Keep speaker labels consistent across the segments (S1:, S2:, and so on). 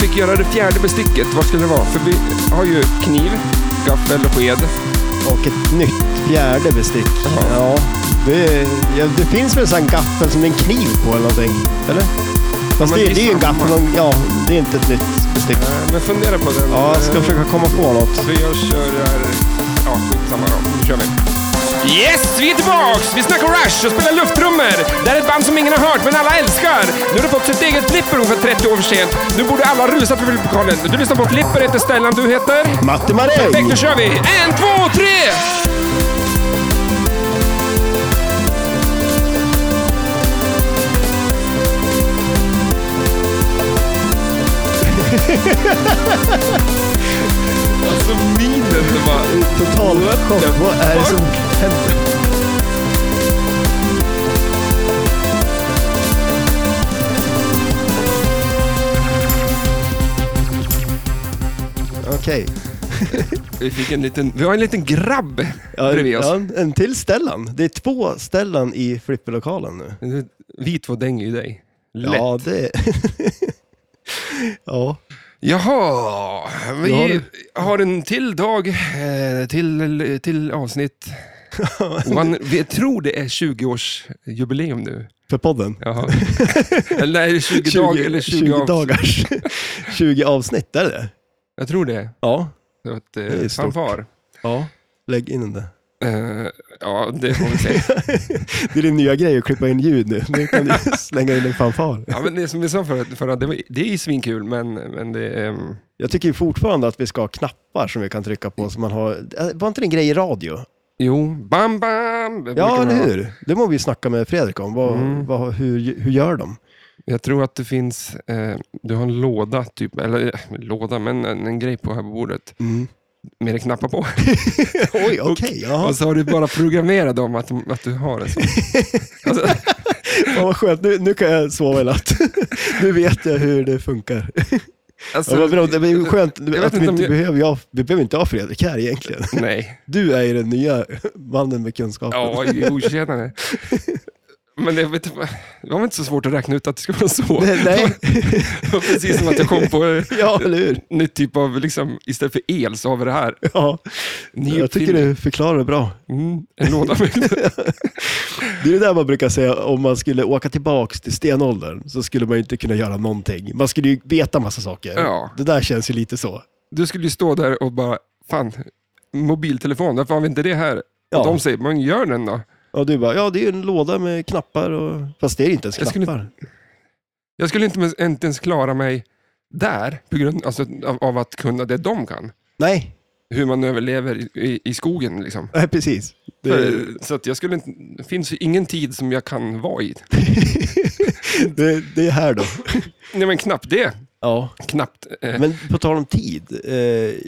S1: fick göra det fjärde besticket, vad skulle det vara? För vi har ju kniv, gaffel och sked. Eh,
S2: Och ett nytt fjärde bestick. Ja, det, ja, det finns väl en sån gaffel som det är en kniv på eller någonting? Eller? Fast
S1: men
S2: det,
S1: det är
S2: det är ju en
S1: samma.
S2: gaffel. och- Ja, det är inte ett nytt bestick.
S1: Eh, Men fundera på det.
S2: Ja, jag ska försöka komma på något.
S1: Så jag kör... eh, Ja, skitsamma då. Nu kör vi. Yes, vi är tillbaks! Vi snackar Rush och spelar luftrummer. Det här är ett band som ingen har hört, men alla älskar. Nu har du fått sitt eget flipper ungefär 30 år för sent. Nu borde alla rusa för flipperpokalen. Du lyssnar på Flipper, heter Stellan, du heter?
S2: Matti
S1: Perfekt,
S2: Maräng!
S1: nu kör vi! En, två, tre! alltså minen, det var...
S2: Total chock. Vad är det som händer? Okej.
S1: Vi fick en liten... Vi har en liten grabb
S2: Ja,
S1: bredvid oss.
S2: ja, en till Stellan. Det är två Stellan i flipperlokalen nu.
S1: Vi två dänger ju dig. Lätt.
S2: Ja, det... ja.
S1: Jaha, vi
S2: Nu har
S1: har,
S2: du-
S1: en till dag, eh, till, till avsnitt. One, vi tror det är 20-årsjubileum nu.
S2: För podden.
S1: Jaha. eller nej, 20, dagar eller 20,
S2: 20
S1: avsnitt.
S2: dagars. 20 avsnitt, är det
S1: Jag tror det.
S2: Ja.
S1: Så att, eh,
S2: är stort.
S1: fanfar.
S2: ja. Lägg in den där.
S1: Eh, ja, det får vi se.
S2: Det är din nya grej att klippa in ljud nu. Nu kan du slänga in en fanfar.
S1: Ja, men det är som vi sa förut, förra, det, var- det är ju svinkul, men, men det... ehm,
S2: Jag tycker ju fortfarande att vi ska ha knappar som vi kan trycka på. Som man har... Äh, Var inte det en grej i radio?
S1: jo, bam, bam! Det brukar
S2: Ja,
S1: man
S2: eller
S1: ha.
S2: hur? Det må vi snacka med Fredrik om. Vad,
S1: Mm.
S2: vad, hur, hur gör de?
S1: Jag tror att det finns, eh, du har en låda, typ, eller eh, låda, men en, en grej på här på bordet
S2: Mm.
S1: med det knappar på.
S2: Oj, okej. jaha.
S1: Och så har du bara programmerat dem att, att du har en sån. Alltså,
S2: Fan vad skönt, nu, nu kan jag sova i natt. nu vet jag hur det funkar.
S1: alltså,
S2: Ja, vad bra, det är ju skönt
S1: vet
S2: att vi
S1: inte om
S2: inte
S1: jag-
S2: behöver, jag, vi behöver inte ha Fredrik här egentligen.
S1: nej,
S2: Du är ju den nya mannen med kunskapen.
S1: ja, jo, tjenare. Men det, vet, du, det var väl inte så svårt att räkna ut att det skulle vara så.
S2: Nej, nej.
S1: Det var precis som att jag kom på en
S2: ja eller hur?
S1: ny typ av, liksom, istället för el så har vi det här.
S2: Ja,
S1: Ny
S2: jag tycker du förklarar det bra.
S1: mm, en låda med...
S2: Det är det där man brukar säga om man skulle åka tillbaks till stenåldern så skulle man ju inte kunna göra någonting. Man skulle ju veta massa saker.
S1: Ja.
S2: Det där känns ju lite så.
S1: Du skulle ju stå där och bara, fan, mobiltelefon, varför har vi inte det här?
S2: Ja.
S1: Och de säger, man gör den då.
S2: Ja, du bara, ja det är ju en låda med knappar och... Fast det är inte ens
S1: Jag
S2: knappar.
S1: skulle- Jag skulle inte, inte ens klara mig där, på grund alltså, av, av att kunna det de kan.
S2: Nej,
S1: Hur man överlever i- i, i skogen. Liksom.
S2: nej precis. Det...
S1: Eh, Så att jag skulle inte, det finns ju ingen tid som jag kan vara i.
S2: det, det är här då.
S1: Nej men knappt det.
S2: Ja.
S1: Knappt. eh,
S2: Men på tal om tid. Eh,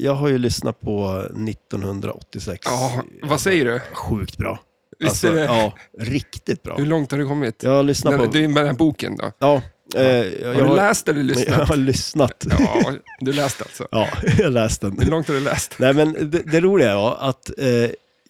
S2: jag har ju lyssnat på 1986.
S1: Ja, vad säger du?
S2: Sjukt bra. Alltså,
S1: Visst är det?
S2: ja, riktigt bra.
S1: Hur långt har du kommit?
S2: Jag har lyssnat
S1: Den,
S2: på...
S1: det är ju med den här boken då.
S2: Ja, eh,
S1: Har
S2: jag,
S1: du
S2: har,
S1: läst eller
S2: jag
S1: lyssnat?
S2: har lyssnat.
S1: Ja, du läste alltså.
S2: Ja, jag läste den.
S1: Hur långt har du läst?
S2: Nej, men det, det roliga var att eh,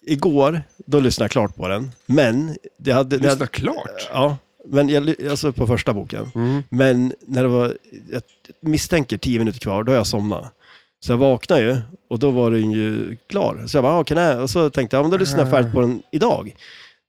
S2: igår, då lyssnade jag klart på den. Men, det hade... det
S1: Lyssna
S2: hade
S1: klart.
S2: ja, men jag, ly- alltså på första boken.
S1: Mm.
S2: Men när det var, jag misstänker tio minuter kvar, då har jag somnat. Så jag vaknade ju och då var den ju klar. Så jag bara, ah, kan jag? Och så tänkte jag, ja, men då lyssnar jag färdigt på den idag.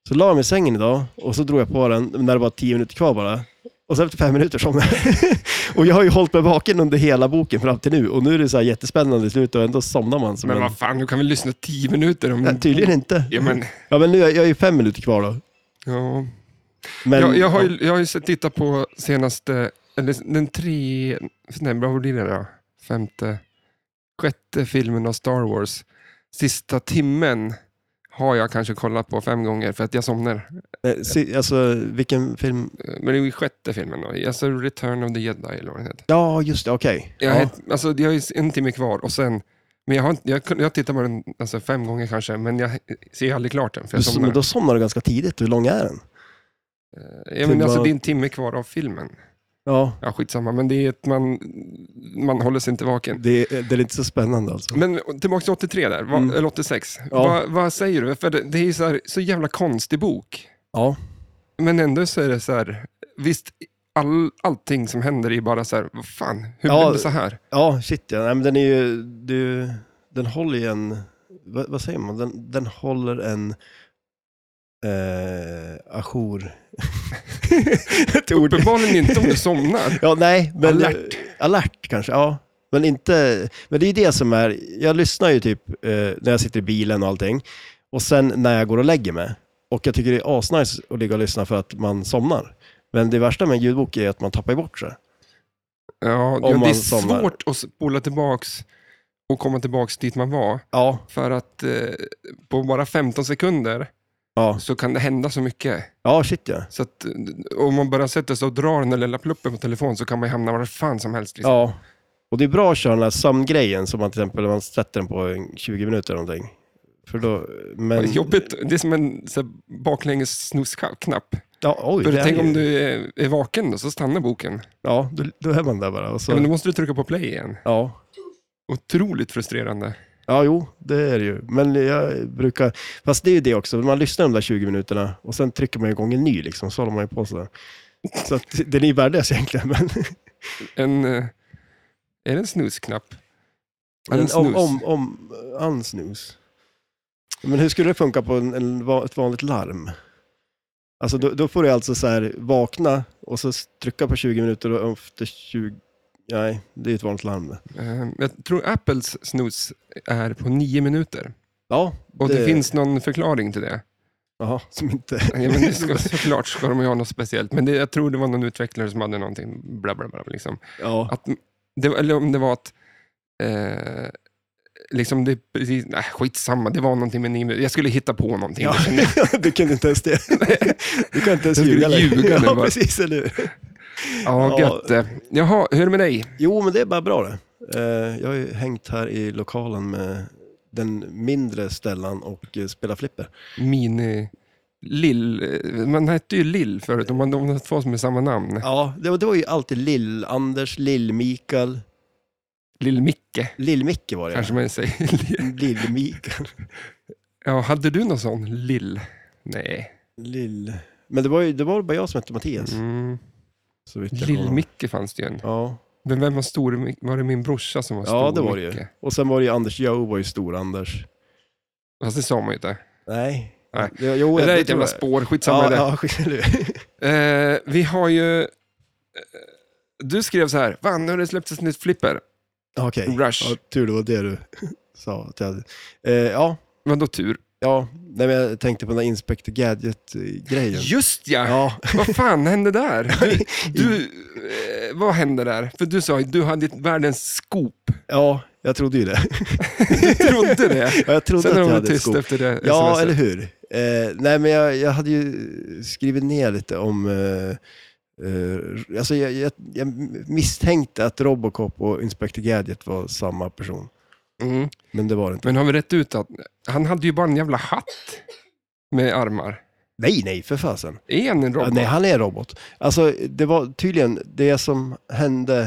S2: Så la jag mig i sängen idag och så drog jag på den när det var tio minuter kvar bara. Och sen efter fem minuter somnade jag. och jag har ju hållit mig vaken under hela boken fram till nu. Och nu är det så här jättespännande i slutet och ändå somnar man. Som
S1: Men
S2: en...
S1: vad fan, du kan väl lyssna tio minuter om
S2: Ja, tydligen inte.
S1: Ja, men,
S2: Ja, men nu är jag är ju fem minuter kvar då.
S1: ja.
S2: Men,
S1: jag, jag har ju, jag har ju sett, tittat på senaste, eller den tre, nej vad blir det då? Femte, sjätte filmen av Star Wars. Sista timmen har jag kanske kollat på fem gånger för att jag somnar.
S2: Eh, se- Alltså, vilken film?
S1: Men det är ju sjätte filmen då, alltså Return of the Jedi eller vad den heter.
S2: Ja, just det, okej.
S1: Jag,
S2: Ja.
S1: har, alltså, jag har ju en timme kvar och sen, men jag, har, inte- jag, kun- jag tittar på den alltså, fem gånger kanske, men jag ser aldrig klart den för jag
S2: Du, men
S1: somnar.
S2: då somnar du ganska tidigt. Hur lång är den?
S1: Ja, men alltså,
S2: bara-
S1: det är en timme kvar av filmen.
S2: Ja,
S1: Ja, skitsamma, men det är ett, man, man håller sig inte vaken.
S2: det, det är inte så spännande alltså.
S1: Men tillbaka till 83 där, va,
S2: Mm.
S1: eller 86.
S2: Ja.
S1: Vad- vad säger du? För det, det är ju så, här, så jävla konstig bok.
S2: Ja,
S1: Men ändå så är det så här, visst, all, allting som händer är bara så här, vad fan, hur
S2: Ja.
S1: blev det så här?
S2: Ja, shit ja. Nej, men den är ju, det är ju, den håller ju en, vad, vad säger man, den, den håller en eh, ajour. Ett ord.
S1: Uppenbarligen inte om du somnar.
S2: Ja, nej. Men, eh,
S1: Alert.
S2: Alert kanske, ja. Men inte, men det är ju det som är, jag lyssnar ju typ eh, när jag sitter i bilen och allting. Och sen när jag går och lägger mig. Och jag tycker det är asnice att ligga och lyssna för att man somnar. Men det värsta med en ljudbok är att man tappar bort sig.
S1: Ja, ja, det är
S2: man somnar.
S1: svårt att spola tillbaks och komma tillbaks dit man var.
S2: Ja,
S1: För att eh, på bara 15 sekunder
S2: ja,
S1: så kan det hända så mycket.
S2: ja shit ja.
S1: Så att, eh, om man bara sätter sig och drar den där lilla pluppen på telefon så kan man hamna var fan som helst. Liksom.
S2: Ja, och det är bra att köra den här sömngrejen som man till exempel man sätter den på en 20 minuter eller någonting. För då, men...
S1: Det är Jobbigt, det är som en så här, baklänges snusknapp.
S2: Ja, oj,
S1: För
S2: det är
S1: tänk
S2: ju-
S1: om du är, är vaken då, så stannar boken.
S2: Ja, då, då är man där bara. Och
S1: Ja, men då
S2: så...
S1: måste du trycka på play igen.
S2: Ja,
S1: Otroligt frustrerande.
S2: ja, jo, det är det ju. Men jag brukar... Fast det är ju det också, man lyssnar de där 20 minuterna och sen trycker man igång en ny liksom, så håller man ju på så. Så att, den är ju värdelös egentligen. Men...
S1: En, eh, är det en snusknapp? Ja, det är en
S2: om,
S1: snus.
S2: om, om, ansnus. Men hur skulle det funka på en, en, va- ett vanligt larm? Alltså då, då får du alltså så här vakna och så s- trycka på 20 minuter och efter 20... Nej, det är ett vanligt larm. det.
S1: Eh, Jag tror Apples snus är på nio minuter.
S2: Ja,
S1: Och det, finns någon förklaring till det.
S2: Jaha, som inte...
S1: Ja, men det ska, såklart ska de ju ha något speciellt, men det, jag tror det var någon utvecklare som hade någonting, bla bla bla. Liksom.
S2: Ja,
S1: Att, det, var- eller om det var att... Eh, liksom det, precis, nej, skitsamma, det var någonting med nio minuter. Jag skulle hitta på någonting.
S2: ja. du kunde inte ens det. Du kan inte ens
S1: Jag skulle
S2: ljuga. längre.
S1: ljuga nu
S2: ja,
S1: bara.
S2: precis, eller hur?
S1: Ja,
S2: Ja.
S1: gött. eh. Jaha, hur är det med dig?
S2: Jo, men det är bara bra det. Eh, Jag har ju hängt här i lokalen med den mindre Stellan och eh, spelat flipper.
S1: Mini... eh, Lill... eh, Man hette ju Lill förut, och man, de har två som är samma namn.
S2: Ja, det var, det var ju alltid Lill-Anders, Lill-Mikael,
S1: Lill-Micke,
S2: Lill-Micke var det.
S1: kanske man säger.
S2: Lill-Mikael.
S1: Ja, hade du någon sån Lill? Nej.
S2: Lill... Men det var ju det var bara jag som hette Mattias.
S1: Mm.
S2: så vitt jag kommer ihåg.
S1: Lill-Micke fanns det ju en.
S2: Ja.
S1: Men vem var stor? Var det min brorsa som var stor?
S2: ja, det var det ju.
S1: Micke?
S2: Och sen var det ju Anders Joe var ju stor-Anders.
S1: Fast det sa man ju inte.
S2: Nej.
S1: Nej.
S2: Det, jo,
S1: det där är
S2: Oh, det
S1: ett
S2: tror
S1: jävla
S2: jag.
S1: spår, skitsamma
S2: Ja,
S1: det.
S2: ja, skit- eller-
S1: Eh, vi har ju... eh, Du skrev så här, Van, nu har det släppts ett nytt flipper.
S2: ja. Okej.
S1: Rush.
S2: Ja, tur det var det du sa. att jag- Eh, ja.
S1: Vadå tur?
S2: Ja, nej, men jag tänkte på den där Inspector Gadget-grejen.
S1: Just ja!
S2: Ja,
S1: Vad fan hände där? Du, du, eh, vad hände där? För du sa ju, du hade ett världens scoop.
S2: ja, jag trodde ju det.
S1: Du trodde det.
S2: Ja, Jag trodde
S1: Sen
S2: att jag
S1: har du
S2: hade ett
S1: tyst
S2: skop.
S1: efter det
S2: Ja,
S1: smset.
S2: eller hur? Eh, nej, men jag, jag hade ju skrivit ner lite om... Eh, eh, alltså jag, jag, jag misstänkte att Robocop och Inspector Gadget var samma person.
S1: Mm.
S2: Men det var det inte.
S1: Men har vi rätt ut att han hade ju bara en jävla hatt med armar.
S2: Nej, nej, för fasen.
S1: Är han en
S2: Ja,
S1: robot?
S2: nej, han är robot. Alltså, det var tydligen det som hände...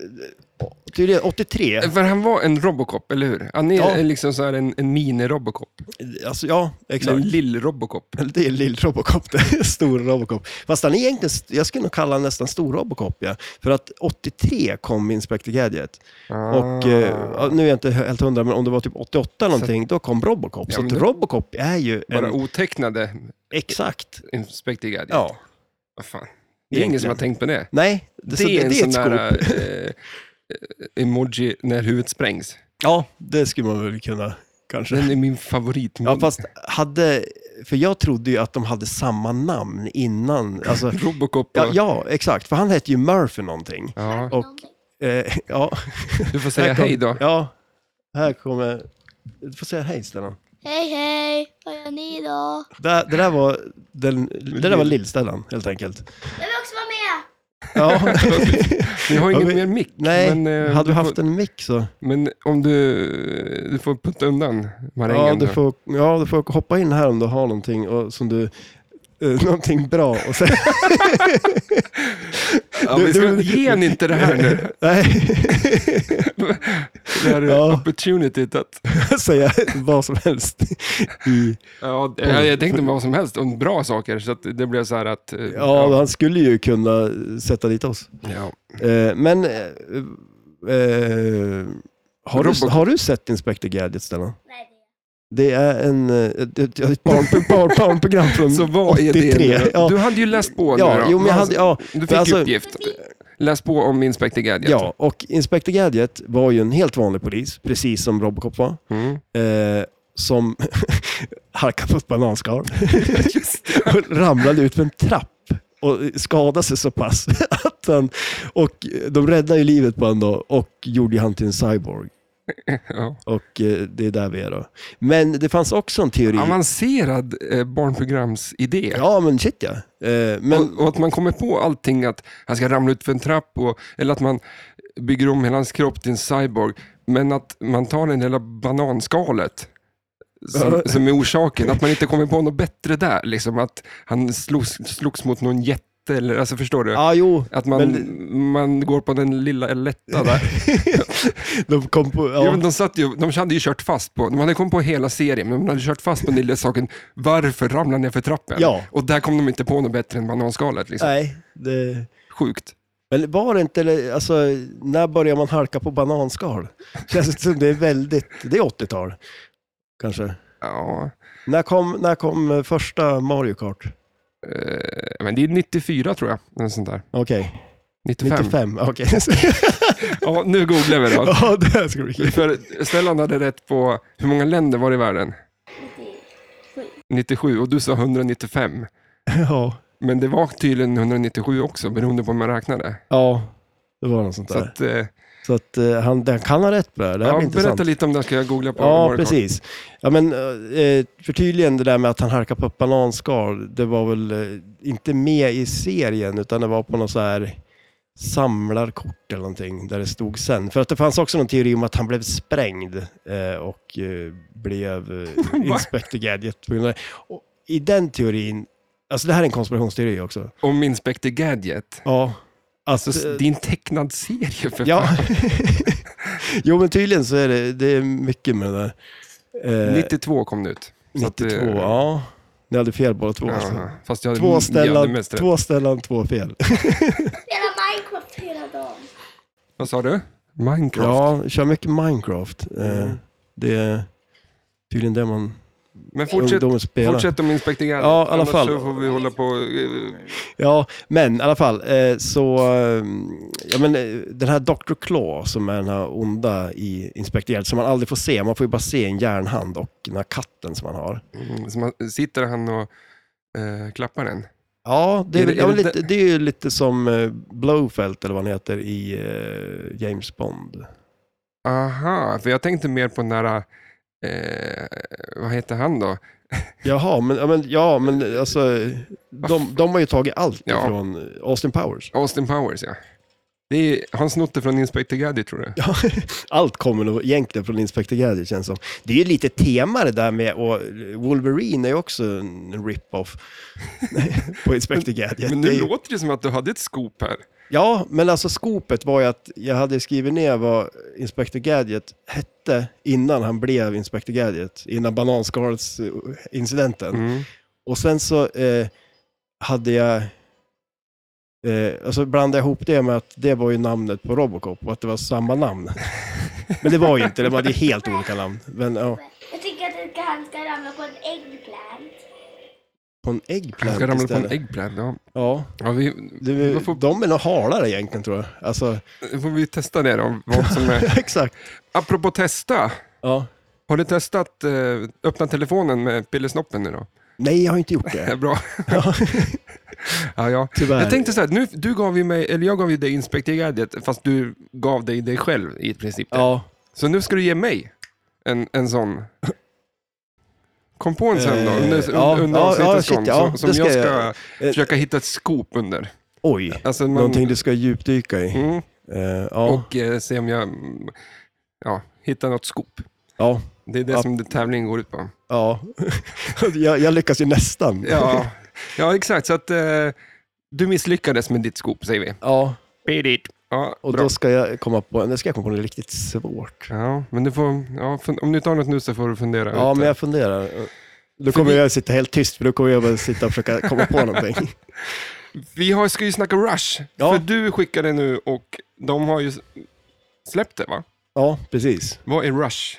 S2: eh, Tydligen 83.
S1: Eh, För han var en Robocop, eller hur? Han är
S2: Ja.
S1: liksom så här en, en mini-Robocop.
S2: Alltså, ja,
S1: Eller en
S2: exakt.
S1: lill-Robocop.
S2: Det är lill-Robocop, det är stor Robocop. Fast han är egentligen, st- jag skulle nog kalla honom nästan stor Robocop. Ja. För att 83 kom Inspector Gadget. Och eh,
S1: Ah.
S2: ja, nu är jag inte helt hundra, men om det var typ 88 någonting, då kom Robocop.
S1: Ja,
S2: så
S1: men
S2: att
S1: det-
S2: Robocop är ju
S1: Bara
S2: en...
S1: otecknade
S2: Exakt.
S1: Inspector Gadget.
S2: Ja.
S1: Vad fan. Det är ingen som
S2: Egentligen.
S1: har tänkt på det.
S2: Nej, det,
S1: Det,
S2: så det,
S1: är en
S2: det är ett
S1: sån
S2: skop.
S1: där eh, eh, emoji när huvudet sprängs.
S2: Ja, det skulle man väl kunna kanske.
S1: Den är min favorit.
S2: Ja, fast hade... För jag trodde ju att de hade samma namn innan. Alltså,
S1: Robocop och...
S2: ja, ja, exakt. För han hette ju Murphy någonting.
S1: Ja,
S2: Och... Eh, ja.
S1: Du får säga
S2: Här kom-
S1: hej då.
S2: Ja, här kommer... Du får säga hej Stellan.
S3: Hej hej, vad gör ni idag?
S2: Det, det där var, den, det där var lill-Stellan helt enkelt.
S3: Jag vill också vara med!
S2: Ja,
S1: Vi har
S2: Ja,
S1: inget
S2: vi-
S1: mer mick.
S2: nej,
S1: men, eh,
S2: hade du haft
S1: får,
S2: en mick så...
S1: men om du, du får putta undan marängen.
S2: Ja du,
S1: då.
S2: får, ja, du får hoppa in här om du har någonting och, som du... Eh, någonting bra och sen...
S1: ja,
S2: du-
S1: vi ska,
S2: du-
S1: ge han inte det här nu.
S2: Nej,
S1: Det här är
S2: Ja.
S1: opportunityt att...
S2: säga vad som helst. I,
S1: Ja, jag, jag tänkte vad som helst om bra saker, så att det blev så här att... eh,
S2: ja, han skulle ju kunna sätta dit oss.
S1: ja.
S2: Eh, men, eh, eh, har, du,
S1: Robot-
S2: har du sett Inspector Gadget, Stellan?
S3: Nej, det är
S2: Det är en, eh, ett, ett, ett barn, barn, barnprogram från
S1: Så vad är
S2: 83.
S1: det nu?
S2: Ja.
S1: Du hade ju läst på nu
S2: Ja,
S1: då.
S2: jo, men jag hade, ja,
S1: Du fick
S2: alltså-
S1: uppgift. Läs på om Inspector Gadget.
S2: ja, och Inspector Gadget var ju en helt vanlig polis, precis som Robocop var,
S1: Mm.
S2: eh, som halkade på ett bananskal och ramlade ut för en trapp och skadade sig så pass att han, och de räddade ju livet på honom då och gjorde ju han till en cyborg.
S1: Ja.
S2: Och eh, det är där vi är då. Men det fanns också en teori.
S1: Avancerad eh, barnprogramsidé.
S2: Mm. Ja, men shit ja. Eh, men,
S1: och, och att man kommer på allting att han ska ramla ut för en trapp och, eller att man bygger om hela hans kropp till en cyborg. Men att man tar den hela bananskalet som, som är orsaken. Att man inte kommer på något bättre där. Liksom, att han slogs, slogs mot någon jätte. Eller, alltså, förstår du?
S2: ja, jo.
S1: Att man, man går på den lilla lätta där.
S2: De kom på,
S1: Ja.
S2: ja.
S1: men de, satt ju, de hade ju kört fast på, de hade kommit på hela serien, men de hade kört fast på den lilla saken, varför ramlade ner för trappen?
S2: Ja.
S1: Och där kom de inte på något bättre än bananskalet. Liksom.
S2: Nej, det...
S1: Sjukt.
S2: Men var det inte, eller, alltså, när börjar man halka på bananskal? Känns det som det är väldigt, det är 80-tal kanske.
S1: Ja,
S2: När kom, när kom eh, första Mario Kart?
S1: eh, men det är 94 tror jag, eller sånt där.
S2: Okej,
S1: 95.
S2: 95. Okej.
S1: Ja, nu googlar vi då.
S2: ja, det här ska bli kul.
S1: För Stellan hade rätt på, hur många länder var det i världen?
S3: 97.
S1: 97 och du sa 195.
S2: Ja.
S1: Men det var tydligen 197 också, beroende på hur man räknade.
S2: ja, det var något sånt
S1: Så
S2: där.
S1: att, eh,
S2: Så att eh, han, han kan ha rätt på det här. Det här
S1: ja,
S2: blir intressant.
S1: berätta lite om det, ska jag googla på
S2: Ja,
S1: Mario Kart.
S2: precis. Ja, men, eh, för tydligen det där med att han harkar på ett bananskal, det var väl eh, inte med i serien, utan det var på någon så här samlarkort eller någonting, där det stod sen. För att det fanns också någon teori om att han blev sprängd eh, och eh, blev eh, Inspector Gadget. på grund av det. Och I den teorin, alltså det här är en konspirationsteori också.
S1: Om Inspector Gadget.
S2: Ja,
S1: Så s-
S2: alltså,
S1: det är en tecknad serie för
S2: ja.
S1: fan.
S2: jo, men tydligen så är det, det är mycket med det där. Eh,
S1: 92 kom det ut. Så att,
S2: 92,
S1: eh,
S2: ja. Ni hade fel båda två. alltså.
S1: ja, Fast jag hade
S2: Två,
S1: nio
S2: ställan,
S1: mest rätt.
S2: två ställan, två fel.
S3: Spela Minecraft hela dagen.
S1: Vad sa du? Minecraft?
S2: Ja, kör mycket Minecraft. Eh,
S1: Mm.
S2: Det är tydligen det man
S1: Men fortsätt,
S2: ungdomen spelar.
S1: fortsätt om Inspector Gadget.
S2: Ja, i alla
S1: Annars
S2: fall.
S1: så får vi hålla på... eh,
S2: Ja, men i alla fall. Eh, så, eh, ja, men, eh, den här Dr. Claw som är den här onda i Inspector Gadget, som man aldrig får se. Man får ju bara se en järnhand och den här katten som man har.
S1: mm, så man, sitter han och eh, klappar den?
S2: Ja, det är,
S1: Är det-
S2: väl- ja,
S1: är
S2: men
S1: det
S2: lite, det är ju lite som eh, Blowfelt eller vad han heter i eh, James Bond.
S1: Aha, för jag tänkte mer på den där... Eh, vad heter han då?
S2: Jaha, men, ja, men, ja, men alltså, de, de har ju tagit allt
S1: Ja.
S2: från Austin Powers.
S1: Austin Powers, ja. Det är, han snott det från Inspector Gadget, tror du?
S2: Ja, allt kommer nog egentligen från Inspector Gadget känns som. Det är ju lite tema det där med, och Wolverine är ju också en rip-off på Inspector Gadget.
S1: Men nu
S2: Det är ju-
S1: låter det som att du hade ett scoop här.
S2: Ja, men alltså skopet var ju att jag hade skrivit ner vad Inspector Gadget hette innan han blev Inspector Gadget, innan bananskalsincidenten.
S1: Mm.
S2: Och sen så eh, hade jag, eh, alltså blandade jag ihop det med att det var ju namnet på Robocop och att det var samma namn. Men det var ju inte, det var det är helt olika namn. Men ja,
S3: Jag tycker att det ska- han ska ramla på en äggplant.
S2: på en
S1: Han
S2: äggplant
S1: ska ramla på en
S2: istället.
S1: äggplant, ja.
S2: Ja,
S1: ja vi,
S2: det,
S1: Vad får-
S2: de är nog halare egentligen tror jag. Alltså,
S1: Då får vi testa det då. Vad som är.
S2: exakt.
S1: Apropå testa,
S2: Ja.
S1: har du testat eh, öppna telefonen med pillesnoppen nu då?
S2: Nej, jag har inte gjort
S1: Det är
S2: det.
S1: bra.
S2: Ja,
S1: Ja, ja.
S2: tyvärr.
S1: Jag tänkte så här, nu, du gav ju mig, eller jag gav ju dig Inspector Gadget, fast du gav dig dig själv i princip.
S2: Ja,
S1: Så nu ska du ge mig en, en sån. Kom på en sen då,
S2: Eh,
S1: under,
S2: ja,
S1: under
S2: ja,
S1: avsnittets
S2: ja, shit,
S1: gång,
S2: ja,
S1: som, som
S2: det ska
S1: jag ska
S2: jag. Eh,
S1: försöka hitta ett scoop under.
S2: oj.
S1: Alltså man,
S2: Någonting du ska djupdyka i.
S1: mm,
S2: Eh, ja,
S1: Och eh, se om jag mm, ja, hittar något scoop.
S2: ja,
S1: Det är det
S2: Ja.
S1: som det tävlingen går ut på.
S2: ja. jag, jag lyckas ju nästan.
S1: Ja, ja exakt. Så att eh, du misslyckades med ditt scoop, säger vi.
S2: ja.
S1: Beat it. Ja,
S2: Och
S1: bra.
S2: då ska jag komma på, nu ska jag komma på något riktigt svårt.
S1: ja, men du får, ja, fun- om du tar något nu så får du fundera.
S2: Ja,
S1: ut
S2: men
S1: det.
S2: jag funderar. Då kommer jag sitta helt tyst, för då kommer jag bara sitta och försöka komma på någonting.
S1: Vi har, ska ju snacka Rush,
S2: Ja.
S1: för du skickade nu och de har ju s- släppt det va?
S2: Ja, precis.
S1: Vad är Rush?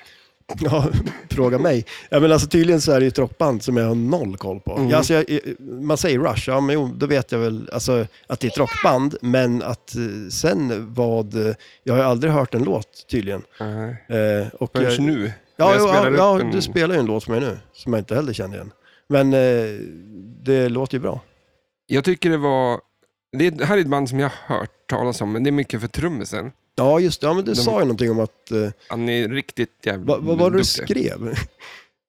S2: Ja, fråga mig. Ja, men alltså, tydligen så är det ju ett rockband som jag har noll koll på.
S1: Mm.
S2: Ja, alltså, jag, jag- man säger Rush, ja men jo, då vet jag väl alltså, att det är ett rockband, men att eh, sen vad... eh, Jag har ju aldrig hört en låt tydligen.
S1: Nej,
S2: Eh, och
S1: Förrän
S2: jag-
S1: nu. när
S2: Ja,
S1: jag
S2: jo, ja,
S1: spelar upp
S2: ja
S1: en-
S2: du spelar ju en låt för mig nu, som jag inte heller känner igen. Men eh, det låter ju bra.
S1: Jag tycker det var... Det är, här är ett band som jag har hört talas om, men det är mycket för trummisen.
S2: Ja, just det. Ja, men du
S1: De-
S2: sa ju någonting om att... Eh,
S1: Han är riktigt jävla
S2: vad, vad var det du
S1: duktig.
S2: skrev?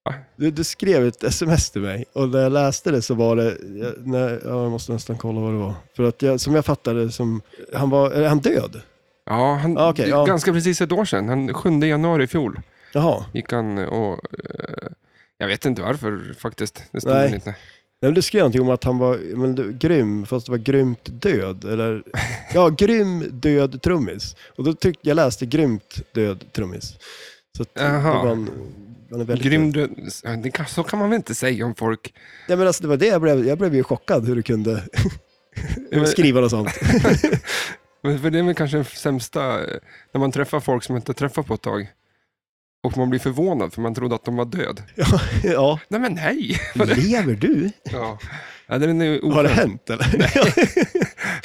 S1: Va?
S2: Du, du skrev ett sms till mig och när jag läste det så var det... Jag, nej, ja, jag måste nästan kolla vad det var. För att jag, som jag fattade som... Han var... Är han död?
S1: Ja, han,
S2: Ah, okej,
S1: det är
S2: ja.
S1: ganska precis ett år sedan. Han, 7 januari i fjol
S2: Jaha.
S1: gick han och... eh, jag vet inte varför faktiskt. Det stod
S2: Nej.
S1: inte.
S2: Nej, men du skrev någonting om att han var men, du, grym, fast det var grymt död. Eller, ja, grym död trummis. Och då tyckte jag läste grymt död trummis. Så att,
S1: Jaha.
S2: det var en, han är väldigt
S1: Grym död. Det kan, så kan man väl inte säga om folk.
S2: Nej, men alltså, det var det jag blev, jag blev ju chockad hur du kunde skriva något sånt.
S1: Men Eh, För det är väl kanske den sämsta, eh, när man träffar folk som man inte träffar på ett tag. Och man blir förvånad för man trodde att de var död.
S2: ja, ja.
S1: Nej men nej!
S2: Lever du?
S1: Ja. Ja, den är
S2: Har det
S1: oför-
S2: hänt eller? Nej.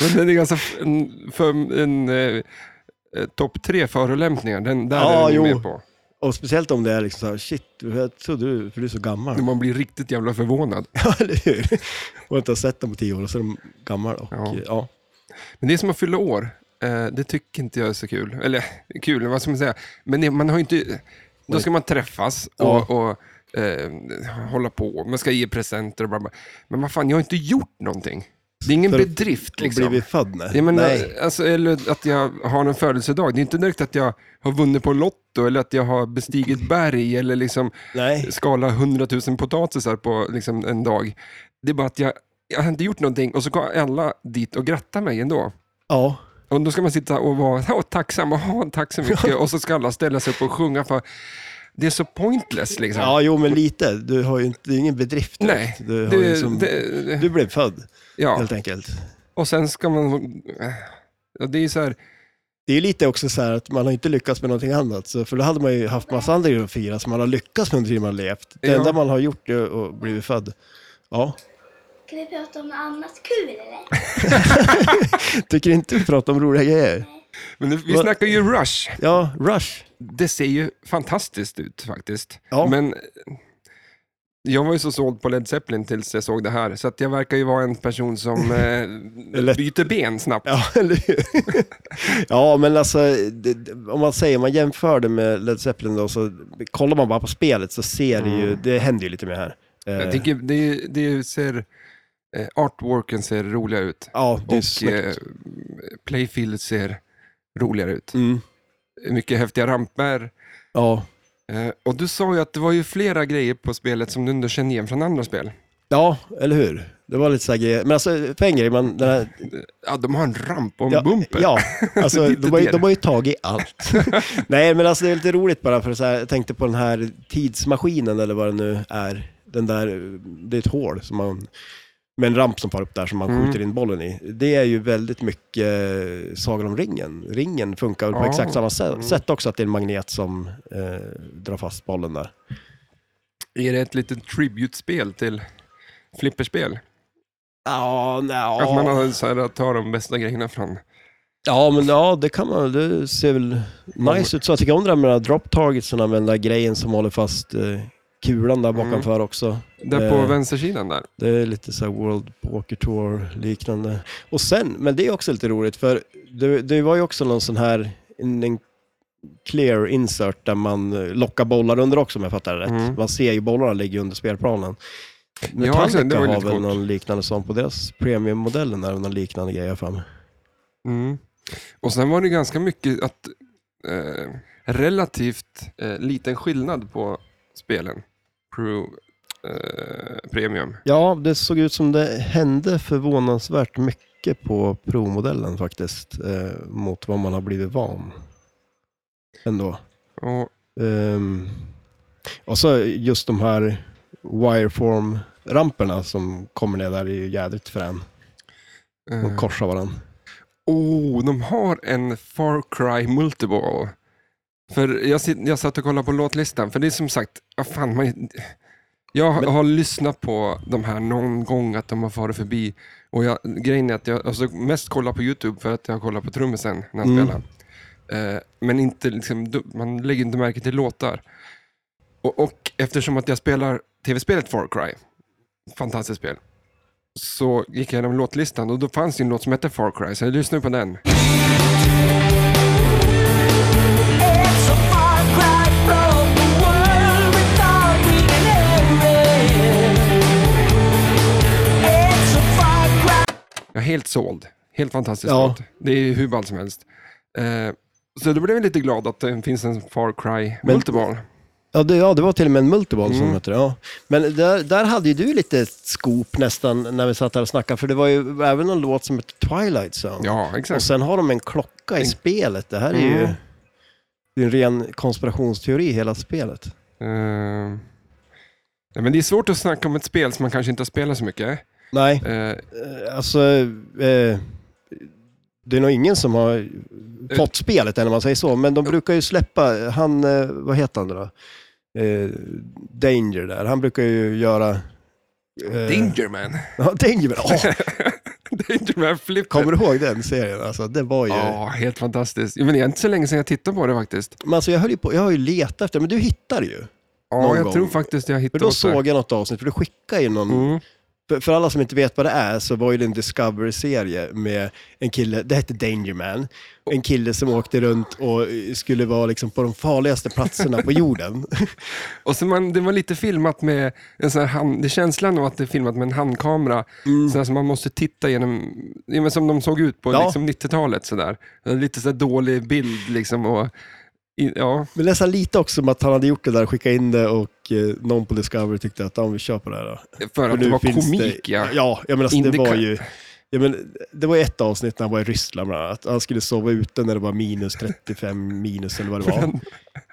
S1: Men den är ganska, f- en, för en eh, eh, topp tre förolämpningar, den där
S2: Ja,
S1: är den
S2: Ah, jo.
S1: med på.
S2: Och speciellt om det är liksom så här, shit, jag trodde du, för du är så gammal.
S1: När man blir riktigt jävla förvånad.
S2: Ja, eller hur? Och inte har sett dem på tio år och så är de gammal. Och, eh,
S1: Ja.
S2: ja.
S1: Men det är som att fylla år. Eh, det tycker inte jag är så kul. Eller kul, vad ska man säga? Men det, man har ju inte... Då ska man träffas och, och eh, hålla på. Man ska ge presenter och bla bla. Men vad fan, jag har inte gjort någonting. Det är ingen
S2: För-
S1: bedrift
S2: Och
S1: liksom.
S2: blivit född? Nej.
S1: Jag menar,
S2: Nej.
S1: alltså, eller att jag har en födelsedag. Det är inte direkt att jag har vunnit på Lotto eller att jag har bestigit berg eller liksom
S2: Nej.
S1: skala 100 000 potatisar på liksom, en dag. Det är bara att jag, jag har inte gjort någonting och så går alla dit och grattar mig ändå.
S2: Ja.
S1: Och då ska man sitta och vara "Åh, tacksam, oh, tack så mycket. Och så ska alla ställa sig upp och sjunga för det är så pointless liksom.
S2: Ja, jo, men lite. Du har ju inte, det är ingen bedrift.
S1: Nej,
S2: direkt. Du, har
S1: det-
S2: ju liksom,
S1: det- det-
S2: du blev född,
S1: ja.
S2: helt enkelt.
S1: Och sen ska man... Ja, Det är så här,
S2: Det är ju lite också så här att man har inte lyckats med någonting annat. Så, för då hade man ju haft massa andra grejer att fira som man har lyckats med under tiden man har levt. Det
S1: Ja.
S2: enda man har gjort är att bli född. Ja.
S3: Kan vi prata om något annat kul eller?
S2: Tycker inte vi pratar om roliga grejer?
S1: men nu- vi
S2: Vad-
S1: snackar ju Rush.
S2: Ja, Rush.
S1: Det ser ju fantastiskt ut faktiskt.
S2: Ja.
S1: Men eh, jag var ju så såld på Led Zeppelin tills jag såg det här, så att jag verkar ju vara en person som eh,
S2: Lätt.
S1: byter ben snabbt.
S2: Ja, eller hur? Ja, men alltså, det, det- om man säger, man jämför det med Led Zeppelin då, så kollar man bara på spelet så ser det ju, det händer ju lite mer här. Eh,
S1: Mm. Jag tycker det, det ser, eh, artworken ser roligare ut
S2: ja, det är
S1: och
S2: snyggt.
S1: eh, playfield ser roligare ut.
S2: Mm.
S1: Mycket häftiga ramper.
S2: Ja.
S1: Eh, och du sa ju att det var ju flera grejer på spelet som du inte känner igen från andra spel.
S2: ja, eller hur? Det var lite så här grejer. Men alltså, för en grej, man, den här
S1: Ja, de har en ramp och en
S2: Ja,
S1: bumper.
S2: Ja, alltså,
S1: Det är inte
S2: de, har ju,
S1: det.
S2: de har ju tagit allt. Nej, men alltså det är lite roligt bara för så här, jag tänkte på den här tidsmaskinen eller vad det nu är. Den där, det är ett hål som man, med en ramp som far upp där som man
S1: Mm.
S2: skjuter in bollen i. Det är ju väldigt mycket eh, Sagan om ringen. Ringen funkar väl på
S1: Ja. Mm.
S2: exakt samma sä- sätt också, att det är en magnet som eh, drar fast bollen där.
S1: Är det ett litet tributespel till flipperspel?
S2: Ja,
S1: Att man har så här, tar de bästa grejerna från...
S2: Ja, men ja, det kan man Det ser väl nice ut. Så jag tycker om det här med de här drop targetsarna med den där grejen som håller fast eh, kulan där bakanför också.
S1: Mm. Där på
S2: Eh.
S1: vänstersidan där.
S2: Det är lite så här World Poker Tour liknande. Och sen, men det är också lite roligt för det, det var ju också någon sån här en, en clear insert där man eh, lockar bollar under också om jag fattar det rätt.
S1: Mm.
S2: Man ser ju bollarna ligger under spelplanen.
S1: alltså, det
S2: Metallica
S1: var ju
S2: har
S1: lite
S2: väl
S1: coolt.
S2: någon liknande sån på deras premiummodellen, eller någon liknande grej jag har för mig.
S1: Mm. Och sen var det ganska mycket att eh, relativt eh, liten skillnad på spelen. Pro, eh, premium.
S2: Ja, det såg ut som det hände förvånansvärt mycket på Pro-modellen faktiskt, eh, mot vad man har blivit van. Ändå.
S1: Och,
S2: Ehm, och så just de här wireform-ramperna som kommer ner där är ju jädrigt frän.
S1: eh,
S2: De korsar varandra.
S1: Oh, de har en Far Cry Multiball. För jag, sit, jag satt och kollade på låtlistan, för det är som sagt, vad fan, man, jag
S2: Men-
S1: har lyssnat på de här någon gång att de har farit förbi. Och jag, grejen är att jag alltså, mest kollar på YouTube för att jag kollar på trummisen när han
S2: Mm.
S1: spelar. Eh, men inte, liksom, du- man lägger inte märke till låtar. Och, och eftersom att jag spelar tv-spelet Far Cry, fantastiskt spel, så gick jag igenom låtlistan och då fanns det en låt som hette Far Cry, så jag lyssnade på den.
S4: It's a far cry from the world we thought we inherited. It's a far cry.
S1: Jag är helt såld. Helt fantastisk
S2: Ja.
S1: låt. Det är hur ballt som helst. Eh, så då blev jag lite glad att det finns en Far Cry
S2: Men-
S1: Multiball.
S2: Ja det, ja, det var till och med en multiball som
S1: Mm.
S2: hette det. Ja. Men där, där hade ju du lite skop nästan när vi satt här och snackade, för det var ju även någon låt som hette Twilight Zone.
S1: Ja,
S2: Och
S1: exakt.
S2: sen har de en klocka i
S1: En-
S2: spelet. Det här är ju
S1: Mm.
S2: det är en ren konspirationsteori, hela spelet.
S1: Eh, ja, men det är svårt att snacka om ett spel som man kanske inte har spelat så mycket.
S2: Nej,
S1: Eh,
S2: eh, alltså... Eh, det är nog ingen som har
S1: Eh.
S2: fått spelet än om man säger så, men de brukar ju släppa, han, eh, vad heter han då? Eh, Danger där, han brukar ju göra... eh,
S1: Dangerman.
S2: Ja, Danger, åh,
S1: Dangerman flipper.
S2: Kommer du ihåg den serien? Alltså, det var ju...
S1: Ja, helt fantastiskt. Ja, Men det är inte så länge sedan jag tittade på det faktiskt.
S2: Men alltså, jag, höll ju på, jag har ju letat efter men du hittade ju.
S1: Ja,
S2: Någon
S1: jag
S2: gång.
S1: tror faktiskt jag
S2: För
S1: hittade
S2: då
S1: åt det.
S2: såg jag något avsnitt, för du skickade ju någon...
S1: Mm.
S2: För, för alla som inte vet vad det är så var ju det en Discovery-serie med en kille, det hette Danger Man, en kille som åkte runt och eh, skulle vara liksom på de farligaste platserna på jorden.
S1: Och så man, det var lite filmat med en sån här hand, det är känslan av att det är filmat med en handkamera. Så här som man måste titta genom, ja, men som de såg ut på
S2: Mm. Ja.
S1: liksom 90-talet. sådär. En Lite så här dålig bild liksom. Och, i, ja.
S2: Men nästan lite också som att han hade gjort det där, skickat in det och eh, någon på Discovery tyckte att om vi kör på det här då.
S1: För att
S2: nu
S1: det var
S2: finns
S1: komik ja.
S2: Ja, jag menar, alltså, det
S1: Indica-
S2: var ju... Ja, men, det var ju ett avsnitt när han var i Ryssland bland annat. Han skulle sova ute när det var minus 35 minus eller vad det var.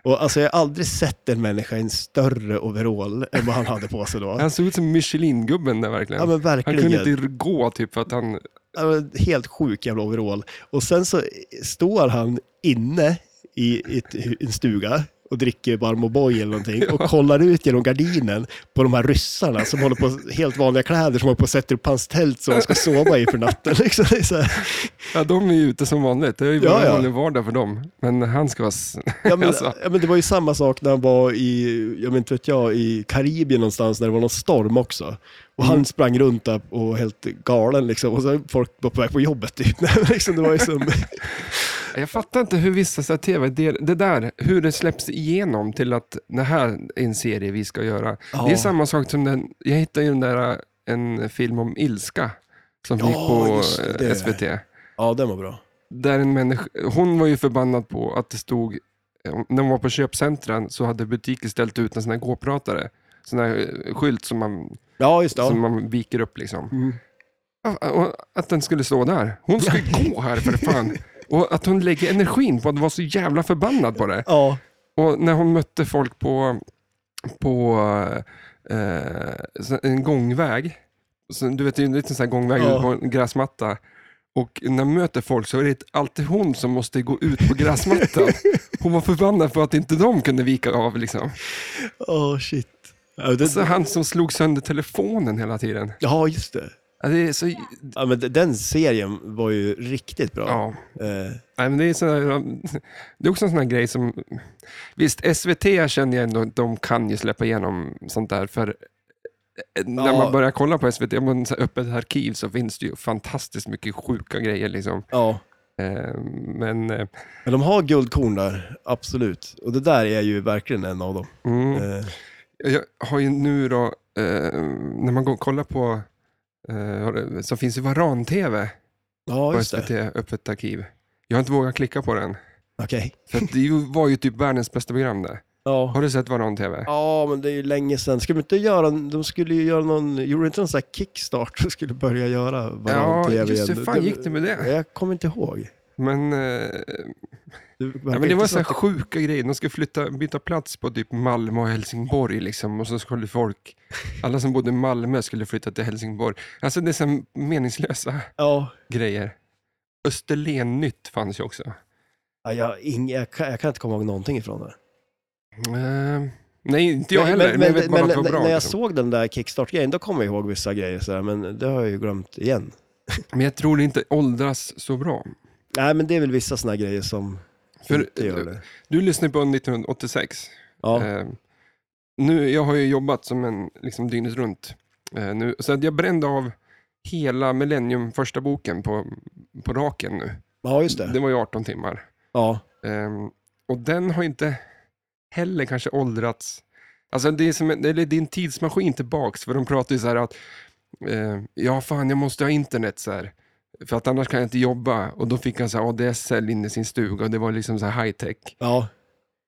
S2: Och alltså, jag har aldrig sett en människa i en större overall än vad han hade på sig då.
S1: Han såg ut som Michelin-gubben där verkligen.
S2: Ja men
S1: han
S2: verkligen.
S1: kunde inte gå typ för att han,
S2: Ja, men Helt sjuk jävla overall. Och sen så står han inne i ett, hu- en stuga och dricker varm O'boy eller någonting och kollar ut genom gardinen på de här ryssarna som håller på helt vanliga kläder som håller på och sätter upp hans tält som han ska sova i för natten. Liksom. Det är så här.
S1: ja de är ju ute som vanligt. Det är ju
S2: Ja,
S1: bara en
S2: ja.
S1: vanlig vardag för dem. Men han ska vara, s-
S2: Ja, men,
S1: Alltså.
S2: ja, men det var ju samma sak när han var i, jag vet inte vet jag, i Karibien någonstans när det var någon storm också. Och han sprang runt där och var helt galen liksom. Och så folk var på väg på jobbet typ. Nej, men liksom, det var ju som...
S1: Jag fattar inte hur vissa så här tv, det, det där, hur det släpps igenom till att det här är en serie vi ska göra.
S2: Ja.
S1: Det är samma sak som den, jag hittade ju den där, en film om ilska som
S2: Ja,
S1: gick på
S2: just
S1: eh,
S2: det.
S1: SVT.
S2: Ja, den var bra.
S1: Där en människa, hon var ju förbannad på att det stod, eh, när hon var på köpcentren så hade butiker ställt ut en sån här gåpratare. Sån här eh, skylt som man,
S2: Ja, just det.
S1: som man viker upp liksom.
S2: Mm.
S1: Ja, och Att den skulle stå där. Hon ska ju gå här för fan. Och att hon lägger energin på att vara så jävla förbannad på det.
S2: Ja,
S1: Och när hon mötte folk på, på eh, så- en gångväg, så, du vet det är en liten sån här gångväg
S2: Ja.
S1: ut på en gräsmatta. Och när hon möter folk så är det alltid hon som måste gå ut på gräsmattan. Hon var förbannad för att inte de kunde vika av. Liksom.
S2: åh shit. Ja, det,
S1: Så han som slog sönder telefonen hela tiden.
S2: ja, just det.
S1: Ja, Det är så,
S2: Ja, men d- den serien var ju riktigt bra.
S1: ja.
S2: Eh,
S1: Nej, men det, är sån här, det är också en sån här grej som... Visst, SVT känner jag ändå, de kan ju släppa igenom sånt där. För eh, när
S2: Ja.
S1: man börjar kolla på SVT, om man så här öppet arkiv, så finns det ju fantastiskt mycket sjuka grejer. Liksom.
S2: ja.
S1: Eh, Men eh,
S2: Men de har guldkorn där, absolut. Och det där är ju verkligen en av dem.
S1: mm,
S2: Eh,
S1: jag har ju nu då, eh, när man går och kollar på, eh, så finns ju Varan-TV
S2: ja,
S1: på
S2: just
S1: SVT,
S2: det.
S1: öppet arkiv. Jag har inte vågat klicka på den.
S2: Okej.
S1: För att det ju- var ju typ världens bästa program där.
S2: Ja.
S1: Har du sett Varann TV?
S2: ja, men det är ju länge sedan. Ska de inte göra, en- de skulle ju göra någon, gjorde inte någon sån här kickstart och skulle börja göra
S1: Ja,
S2: varann tv
S1: just det.
S2: igen?
S1: fan gick det med det?
S2: Jag kommer inte ihåg.
S1: Men, eh,
S2: Det,
S1: ja, men det var så här sjuka grejer. De skulle flytta, byta plats på typ Malmö och Helsingborg liksom. Och så skulle folk, alla som bodde i Malmö skulle flytta till Helsingborg. Alltså det är så här meningslösa
S2: Ja.
S1: grejer. Österlen-nytt fanns ju också.
S2: Ja, jag, har ing, jag, kan, jag kan inte komma ihåg någonting ifrån det.
S1: Eh, nej, inte jag heller. Men, jag vet bara
S2: men
S1: att det var bra.
S2: när jag
S1: liksom.
S2: såg den där kickstart-grejen, då kommer jag ihåg vissa grejer, så här, men det har jag ju glömt igen.
S1: Men jag tror det inte åldras så bra.
S2: Nej, men det är väl vissa såna här grejer som
S1: För-
S2: inte gör det.
S1: Du lyssnar på 1986.
S2: Ja,
S1: Eh, nu, jag har ju jobbat som en liksom, dygnet runt. Eh, nu, så att jag brände av hela Millennium, första boken, på, på raken nu.
S2: ja just det.
S1: Det var ju 18 timmar.
S2: Ja.
S1: Ehm, och den har inte heller kanske åldrats. Alltså det är, som, en- eller det är en tidsmaskin tillbaks, för de pratar ju så här att eh, ja fan jag måste ha internet så här. För att annars kan jag inte jobba. Och då fick han så här ADSL inne i sin stuga och det var liksom så här high tech.
S2: Ja,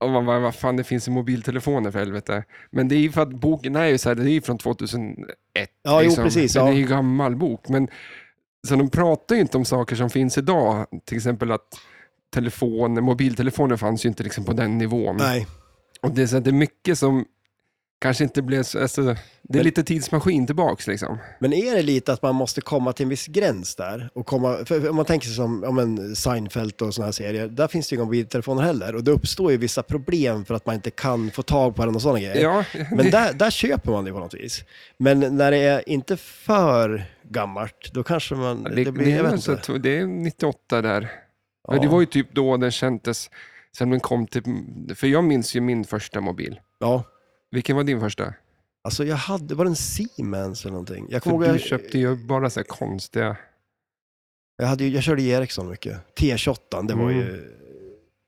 S1: Och man bara, vad fan det finns i mobiltelefoner för helvete. Men det är ju för att boken är ju så här, det är ju från 2001.
S2: Ja, jo, precis,
S1: Den
S2: ja.
S1: är ju gammal bok. Men så de pratar ju inte om saker som finns idag. Till exempel att telefon, mobiltelefoner fanns ju inte liksom på den nivån.
S2: nej.
S1: Och det är, så att det är mycket som kanske inte blev så, alltså, det är
S2: Men-
S1: lite tidsmaskin tillbaks liksom.
S2: Men är det lite att man måste komma till en viss gräns där? Och komma, för för om man tänker sig som ja, men Seinfeld och sådana här serier, där finns det ju inga mobiltelefoner heller. Och det uppstår ju vissa problem för att man inte kan få tag på den och sådana grejer.
S1: Ja,
S2: Men där, där köper man det på något vis. Men när det är inte för gammalt, då kanske man...
S1: det, det,
S2: blir, jag
S1: är
S2: vet
S1: alltså,
S2: inte.
S1: t- det är 98 där.
S2: Ja.
S1: Men det var ju typ då den kändes, sen den kom till, för jag minns ju min första mobil.
S2: Ja.
S1: Vilken var din första?
S2: Alltså jag hade, var det en Siemens eller någonting? Jag kommer
S1: För
S2: ihåg,
S1: du
S2: jag,
S1: köpte ju bara så här konstiga...
S2: jag, hade, ju- jag körde ju Ericsson mycket. T28, det var
S1: Mm.
S2: ju...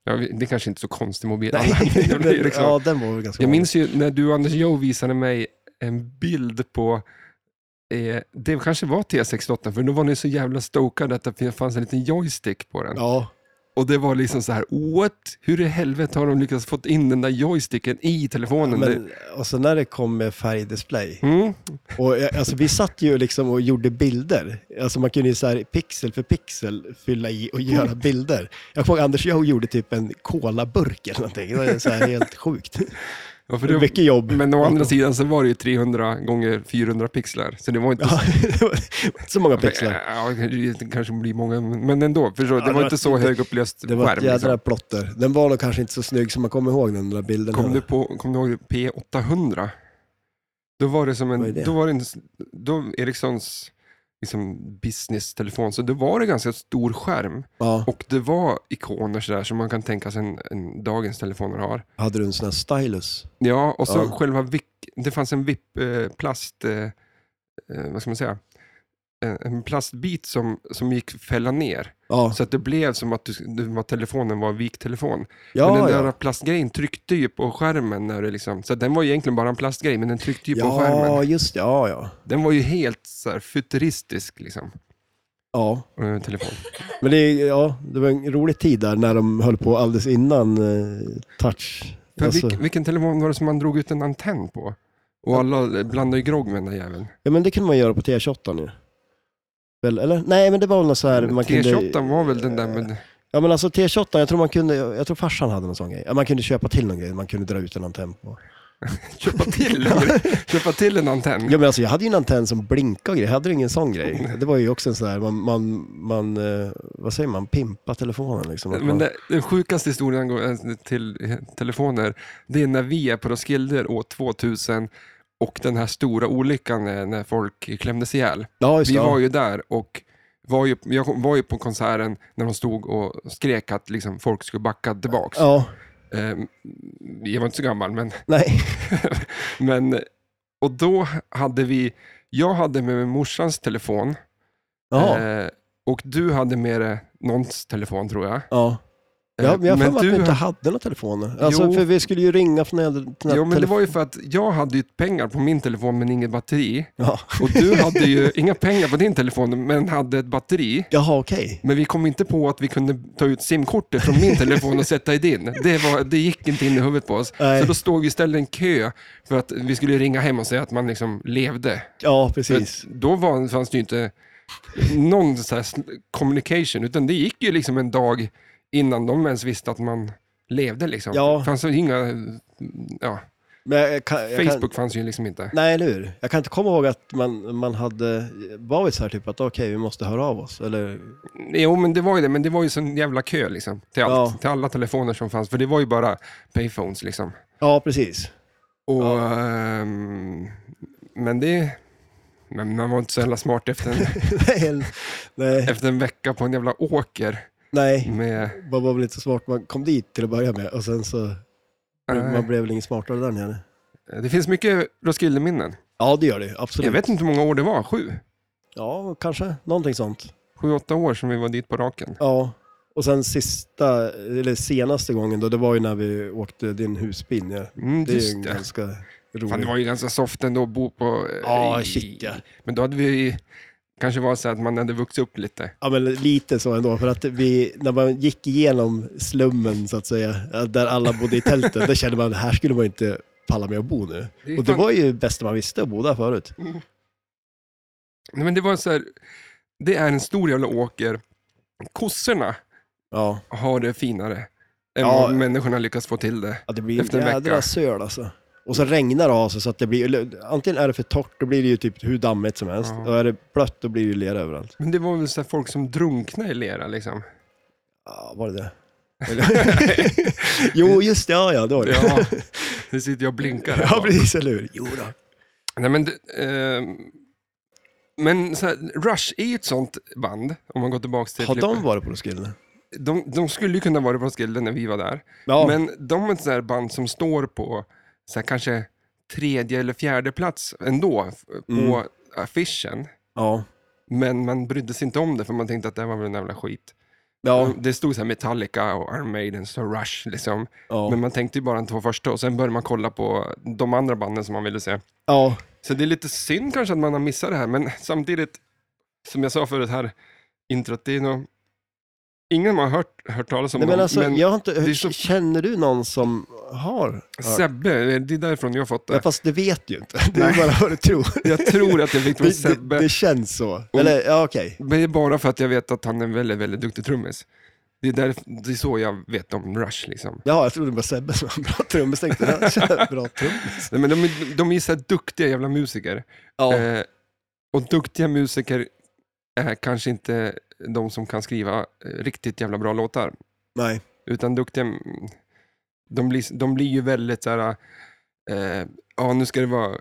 S1: Ja, det är kanske inte så konstig mobil.
S2: Nej,
S1: Alla
S2: den,
S1: blir liksom.
S2: ja, den var väl ganska
S1: Jag
S2: vanlig.
S1: minns ju när du och Anders Joe visade mig en bild på eh, det kanske var T68, för då var ni så jävla stokade att det fanns en liten joystick på den.
S2: Ja,
S1: Och det var liksom så här, what? Hur i helvete har de lyckats fått in den där joysticken i telefonen?
S2: men, och så när det kom med färgdisplay.
S1: Det- Mm?
S2: Och, jag- alltså, vi satt ju liksom och gjorde bilder. Alltså, man kunde ju så här, pixel för pixel fylla i och göra bilder. Jag kommer ihåg Anders Joe gjorde typ en kolaburk eller någonting. Det var så här helt sjukt.
S1: Ja, för
S2: Det var
S1: det,
S2: mycket jobb.
S1: men å andra sidan så var det ju 300 gånger 400 pixlar, så det var inte
S2: Ja, det var inte så många pixlar.
S1: Ja, det kanske blir många, men ändå. Förstår, du?
S2: Ja,
S1: det var
S2: det var
S1: inte så
S2: inte-
S1: högupplöst
S2: Det var
S1: skärm.
S2: ett jädra
S1: Liksom.
S2: plotter. Den var nog kanske inte så snygg som man kommer ihåg den där bilden.
S1: Kom,
S2: här.
S1: du på, kom du ihåg P800? Då var det som
S2: Vad är
S1: en,
S2: det?
S1: då var det en, då Ericssons liksom business-telefon, så då var det ganska stor skärm.
S2: Ja,
S1: Och det var ikoner sådär som man kan tänka sig en, en dagens telefoner har.
S2: hade du en sån här stylus?
S1: Ja, och så
S2: Ja.
S1: själva vick, det fanns en VIP, eh, plast, eh, eh, vad ska man säga, Eh, en plastbit som, som gick fälla ner.
S2: Ja,
S1: Så att det blev som att, du, du, att telefonen var en viktelefon. men
S2: ja,
S1: den där
S2: ja.
S1: plastgrejen tryckte ju på skärmen. När det liksom, så att den var ju egentligen bara en plastgrej, men den tryckte ju på
S2: ja
S1: skärmen.
S2: just det. Ja, ja.
S1: Den var ju helt så här, futuristisk, liksom.
S2: ja.
S1: eh, Telefon.
S2: Men det, är- ja, det var en rolig tid där när de höll på alldeles innan eh, touch.
S1: För
S2: Alltså,
S1: vilken, vilken telefon var det som man drog ut en antenn på? Och alla eh, blandade ju grogg med den där jäveln.
S2: Ja, men det kunde man göra på T28 nu. Väl, eller? Nej, men det var väl något så här... Man
S1: T28
S2: kunde,
S1: var väl den där med...
S2: Ja, men alltså T28, jag tror, man kunde, jag tror farsan hade någon sån grej. Ja, man kunde köpa till någon grej, man kunde dra ut en antenn på.
S1: Köpa till, en grej. köpa till en antenn.
S2: Ja, men alltså jag hade ju en antenn som blinkade och grejer. Jag hade ju ingen sån grej. Det var ju också en sån här, man, man, man eh, vad säger man, pimpa telefonen liksom. Att
S1: Men
S2: man,
S1: det, den sjukaste historien går- eh, till eh, telefoner, det är när vi är på Roskilde år 2000 och den här stora olyckan eh, när folk klämdes ihjäl.
S2: ja, just
S1: Vi
S2: det.
S1: var
S2: Ja,
S1: ju där och var ju, jag kom- var ju på konserten när de stod och skrek att liksom folk skulle backa tillbaks.
S2: ja,
S1: Eh, Jag var inte så gammal, men,
S2: nej.
S1: men... Och då hade vi... Jag hade med mig morsans telefon
S2: Ja,
S1: eh, och du hade med dig någons telefon, tror jag.
S2: ja, Ja, men jag har för
S1: men
S2: mig att
S1: du-
S2: vi inte hade några telefoner. Alltså,
S1: Jo.
S2: för vi skulle ju ringa från äldre till
S1: Jo, men det
S2: telefon-
S1: var ju för att jag hade ju pengar på min telefon men inget batteri.
S2: Ja.
S1: Och du hade ju inga pengar på din telefon men hade ett batteri.
S2: Jaha, okej.
S1: Men vi kom inte på att vi kunde ta ut simkortet från min telefon och sätta i din. Det, var, det gick inte in i huvudet på oss.
S2: Nej.
S1: Så då stod vi istället i en kö för att vi skulle ringa hem och säga att man liksom levde.
S2: Ja,
S1: För
S2: precis.
S1: då var, fanns det ju inte någon så här sl- communication, utan det gick ju liksom en dag innan de ens visste att man levde. Liksom.
S2: Ja.
S1: Det fanns ju inga, ja,
S2: Men jag kan, jag kan,
S1: Facebook fanns ju liksom inte.
S2: Nej, eller hur? Jag kan inte komma ihåg att man, man hade varit så här typ att okej, vi måste höra av oss. Eller,
S1: Jo, men det var ju det, men det var ju sån jävla kö liksom, till, allt,
S2: Ja.
S1: till alla telefoner som fanns, för det var ju bara payphones. Liksom.
S2: ja, precis.
S1: Och, ehm, men det... Men man var inte så jävla smart efter en,
S2: Nej, nej,
S1: efter en vecka på en jävla åker.
S2: nej,
S1: Med,
S2: man var väl inte så smart. Man kom dit till att börja med och sen så man blev väl ingen smartare där nere.
S1: det finns mycket Roskildeminnen.
S2: Ja, det gör det. Absolut.
S1: Jag vet inte hur många år det var, sju?
S2: Ja, kanske. Någonting sånt.
S1: sju, åtta år som vi var dit på raken.
S2: Ja. Och sen sista, eller senaste gången då, det var ju när vi åkte din husbil ner.
S1: Mm,
S2: Det är ju
S1: just
S2: en
S1: det.
S2: ganska rolig...
S1: Fan, det var ju ganska soft ändå att bo på... eh,
S2: Ja,
S1: i-
S2: shit, ja.
S1: Men då hade vi... Kanske var så att man hade vuxit upp lite.
S2: Ja, men lite så ändå. För att vi, när man gick igenom slummen, så att säga, där alla bodde i tälten, då kände man att här skulle man inte palla med att bo nu.
S1: Det är
S2: Och det
S1: fan-
S2: var ju det bästa man visste, att bo där förut.
S1: Nej, men det var så här... Det är en stor jävla åker. Kossorna
S2: Ja,
S1: har det finare än
S2: Ja.
S1: vad människorna lyckas få till det.
S2: ja det blir
S1: Efter en
S2: en jädra
S1: vecka.
S2: söl alltså. Och så regnar det av sig så att det blir, eller, antingen är det för torrt, då blir det ju typ hur dammigt som helst.
S1: Ja.
S2: Och är det blött, då blir det ju lera överallt.
S1: Men det var väl så här folk som drunknade i lera liksom.
S2: Ja, var det det? Eller? jo, just det, ja, ja, då var det. Ja,
S1: Ja, nu sitter jag och blinkar. här.
S2: precis, eller hur? Jo då.
S1: Nej, men, det- ehm, men så här, Rush är ju ett sånt band, om man går tillbaka till...
S2: Har de varit på Roskilde?
S1: de, de skulle ju kunna vara på Roskilde när vi var där.
S2: Ja,
S1: Men de är ett sånt där band som står på så här, kanske tredje eller fjärde plats ändå f- på
S2: Mm.
S1: affischen.
S2: ja,
S1: Men man brydde sig inte om det för man tänkte att det här var väl en jävla skit.
S2: ja,
S1: Det stod så här Metallica och Iron Maiden och Rush liksom.
S2: ja.
S1: Men man tänkte ju bara de två första och sen började man kolla på de andra banden som man ville se.
S2: ja.
S1: Så det är lite synd kanske att man har missat det här, men samtidigt, som jag sa förut här, introt, det är nog... Ingen har hört, hört talas om
S2: Nej, men
S1: dem,
S2: alltså, jag har inte,
S1: det är så-
S2: Känner du någon som har? hört?
S1: Sebbe, det är därifrån jag har fått
S2: Ja,
S1: det.
S2: fast det vet du ju inte. Det är bara vad du tror.
S1: Jag tror att jag fick det från
S2: Det, det,
S1: Sebbe,
S2: det känns så. Eller, ja, okej.
S1: men det är bara för att jag vet att han är en väldigt, väldigt duktig trummis. Det är, där, det är så jag vet om Rush liksom.
S2: Ja, jag trodde det var Sebbe som var en bra trummis. Tänkte, jag, så här, bra trummis.
S1: Nej, men de, är- de är så här duktiga jävla musiker.
S2: Ja,
S1: Eh, och duktiga musiker är kanske inte de som kan skriva eh, riktigt jävla bra låtar.
S2: nej.
S1: Utan duktiga, mm, de blir, de blir ju väldigt så här, eh, ja nu ska det vara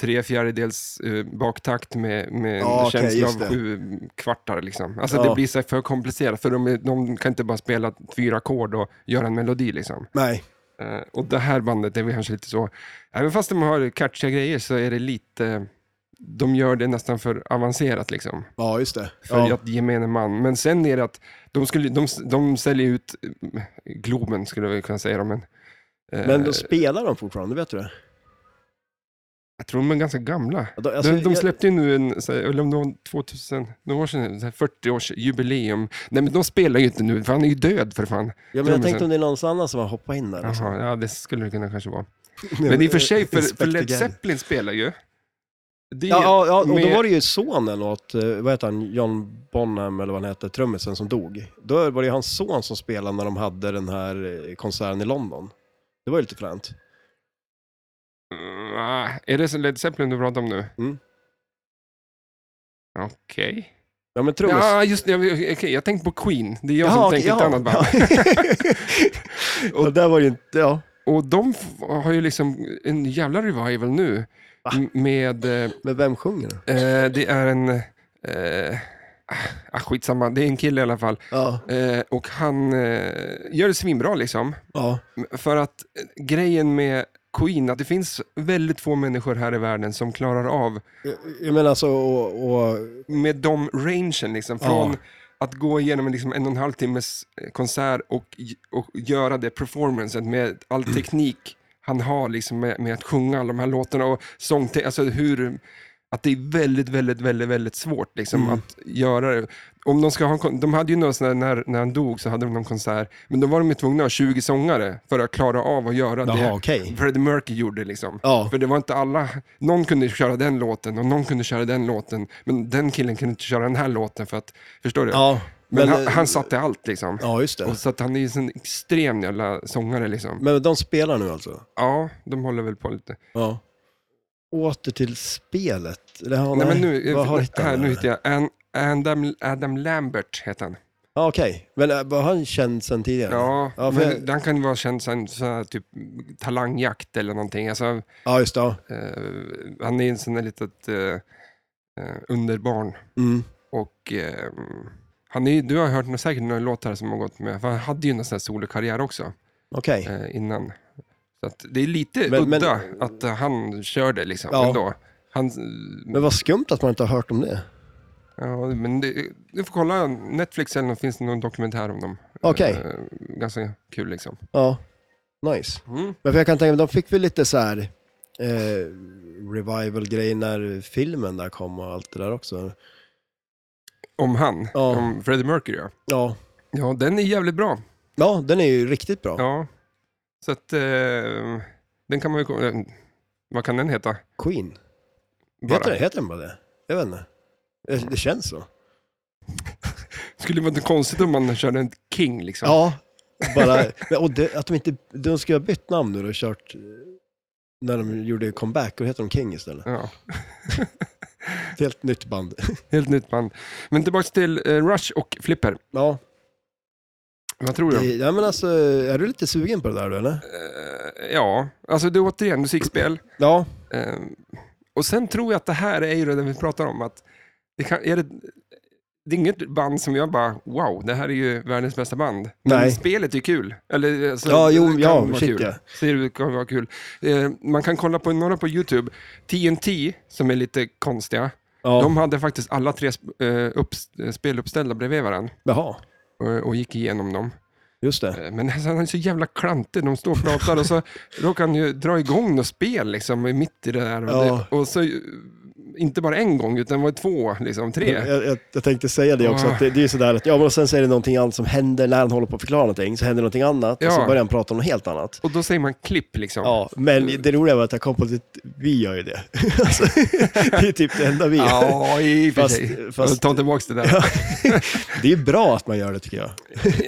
S1: tre fjärdedels eh, baktakt med, med
S2: Ja,
S1: en
S2: okej,
S1: känsla
S2: just
S1: av
S2: det.
S1: sju kvartar liksom. Alltså
S2: Ja.
S1: det blir så här för komplicerat, för de, är- de kan inte bara spela fyra ackord och göra en melodi liksom.
S2: Nej.
S1: Eh, och det här bandet är väl kanske lite så, även fast de har catchiga grejer så är det lite, de gör det nästan för avancerat liksom
S2: Ja, just det.
S1: för
S2: Ja.
S1: att gemene man. Men sen är det att de, skulle, de, de säljer ut eh, Globen, skulle jag väl kunna säga. Då, men eh,
S2: Men då spelar de fortfarande, vet du det?
S1: jag tror de är ganska gamla.
S2: Ja, då- alltså,
S1: de, de
S2: jag-
S1: släppte ju nu en, så här, eller om det var 2000, några år sedan, så här 40-årsjubileum. Nej men de spelar ju inte nu, för han är ju död för fan.
S2: Ja, men jag
S1: trummisen.
S2: tänkte om det är någon annan som har hoppat in där. liksom.
S1: Jaha, ja det skulle det kunna kanske vara.
S2: Nej,
S1: Men i och för sig, för, för
S2: Inspector
S1: Led
S2: Gadget.
S1: Zeppelin spelar ju. Det är-
S2: Ja, ja, ja, och då
S1: med-
S2: var det ju sonen åt, eh, vad heter han, John Bonham eller vad han hette, trummisen som dog. Då var det ju hans son som spelade när de hade den här eh, konserten i London. Det var ju lite fränt.
S1: Mm, ah, är det så Led Zeppelin du pratar om nu?
S2: Mm.
S1: Okej.
S2: Ja, men trummis.
S1: Ja, just det. Jag, okej, jag tänkte på Queen. Det är jag
S2: Jaha,
S1: som tänker
S2: okej,
S1: ett
S2: ja.
S1: annat band.
S2: Ja. och där var det ju inte, ja.
S1: Och de f- har ju liksom en jävla revival nu.
S2: Va?
S1: M- Med, eh,
S2: Men vem sjunger då?
S1: eh, det är en, eh, ah, skitsamma, det är en kille i alla fall.
S2: Ja,
S1: Eh, och han eh, gör det svinbra liksom.
S2: ja,
S1: M- För att eh, grejen med Queen, att det finns väldigt få människor här i världen som klarar av
S2: jag, jag menar alltså, och, och
S1: med de rangen liksom. Från att gå igenom en, liksom, en och en halv timmes eh, konsert och, och göra det performancen med all
S2: Mm.
S1: teknik han har liksom, med, med att sjunga alla de här låtarna och sång, alltså hur, att det är väldigt, väldigt, väldigt, väldigt svårt liksom,
S2: Mm.
S1: att göra det. Om de, ska ha en, kon- de hade ju någon sån här, när, när han dog så hade de någon konsert, men då var de ju tvungna att ha 20 sångare för att klara av att göra det
S2: Jaha, okej.
S1: Freddie Mercury gjorde liksom.
S2: Ja.
S1: För det var inte alla, någon kunde köra den låten och någon kunde köra den låten, men den killen kunde inte köra den här låten för att, förstår du?
S2: Ja,
S1: men
S2: men,
S1: han,
S2: eh,
S1: han satte allt liksom.
S2: Ja, just det.
S1: Och så att han är ju en sån extrem jävla sångare liksom.
S2: Men de spelar nu alltså?
S1: Ja, de håller väl på lite.
S2: Ja. Åter till spelet. Eller, ja,
S1: Nej, men nu,
S2: vad har hittat
S1: här,
S2: han?
S1: nu hittar jag An- Adam, Adam Lambert heter han.
S2: Ja, okej. Men äh, var han känd sedan tidigare?
S1: Ja,
S2: Ja, för
S1: men
S2: jag-
S1: han kan ju vara känd som så här, typ talangjakt eller någonting. Alltså, eh,
S2: Ja, just det. Ja.
S1: han är en sån där litet eh, eh, underbarn.
S2: Mm.
S1: Och ehm, han är, ju- du har hört nå- säkert några låtar som har gått med, för han hade ju en sån här solokarriär också
S2: Okej.
S1: eh, innan. Så att det är lite
S2: Men- men-
S1: udda att eh, han kör det liksom
S2: Ja.
S1: ändå. Han,
S2: Men vad skumt att man inte har hört om
S1: Eh.
S2: det.
S1: ja, men det, du får kolla Netflix eller något, finns det någon dokumentär om dem.
S2: Okej.
S1: Eh, ganska kul liksom.
S2: Ja. Nice.
S1: Mm.
S2: Men för jag kan tänka mig, de fick väl lite så här eh, revival-grej när filmen där kom och allt det där också.
S1: Om han,
S2: Ja.
S1: om Freddie Mercury ja.
S2: Ja.
S1: Ja, den är jävligt bra.
S2: Ja, den är ju riktigt bra.
S1: Ja. Så att eh, den kan man ju, ko- eh, vad kan den heta?
S2: Queen.
S1: Bara.
S2: Heter, den- heter den bara det? Jag vet inte. Eh, Det, det känns så.
S1: Skulle vara inte konstigt om man körde en King liksom.
S2: Ja, bara, men- och det, att de inte, de ska ha bytt namn nu och kört eh, när de gjorde comeback, och heter de King istället.
S1: Ja.
S2: Ett helt nytt band.
S1: Helt nytt band. Men tillbaka till eh, Rush och Flipper.
S2: Ja,
S1: Vad tror du?
S2: det, ja, men alltså, är du lite sugen på det där du eller?
S1: Eh, ja, alltså det är återigen musikspel.
S2: Ja.
S1: Eh, och sen tror jag att det här är ju det vi pratar om. Att det, kan, är det, det är inget band som jag bara, wow, det här är ju världens bästa band. Men
S2: Nej.
S1: spelet är kul. Eller, alltså,
S2: Ja, jo,
S1: det kan
S2: ja,
S1: vara
S2: shit,
S1: kul.
S2: ja.
S1: Så det kan vara kul. Eh, man kan kolla på några på YouTube. TNT, som är lite konstiga,
S2: ja.
S1: de hade faktiskt alla tre sp- eh, upps- spel uppställda bredvid varandra
S2: Jaha,
S1: och, och gick igenom dem.
S2: just det.
S1: Eh, Men alltså, han är så jävla klantig. De står och pratar och så råkar han ju dra igång något spel liksom, i mitt i det där. Och,
S2: Ja.
S1: det, och så, eh, inte bara en gång, utan var det två, liksom, tre.
S2: Jag, jag, jag tänkte säga det också,
S1: Ah.
S2: att det, det är ju sådär att, ja men sen så är det någonting annat som händer när han håller på att förklara någonting, så händer någonting annat och så
S1: Ja.
S2: börjar han prata om något helt annat.
S1: Och då säger man klipp liksom.
S2: Ja, men det roliga var att jag kom på att vi gör ju det. Alltså, det är typ det enda vi gör.
S1: Ja, i och för
S2: Fast-
S1: sig.
S2: fast-
S1: Ta tillbaka det där.
S2: Det är bra att man gör det tycker jag.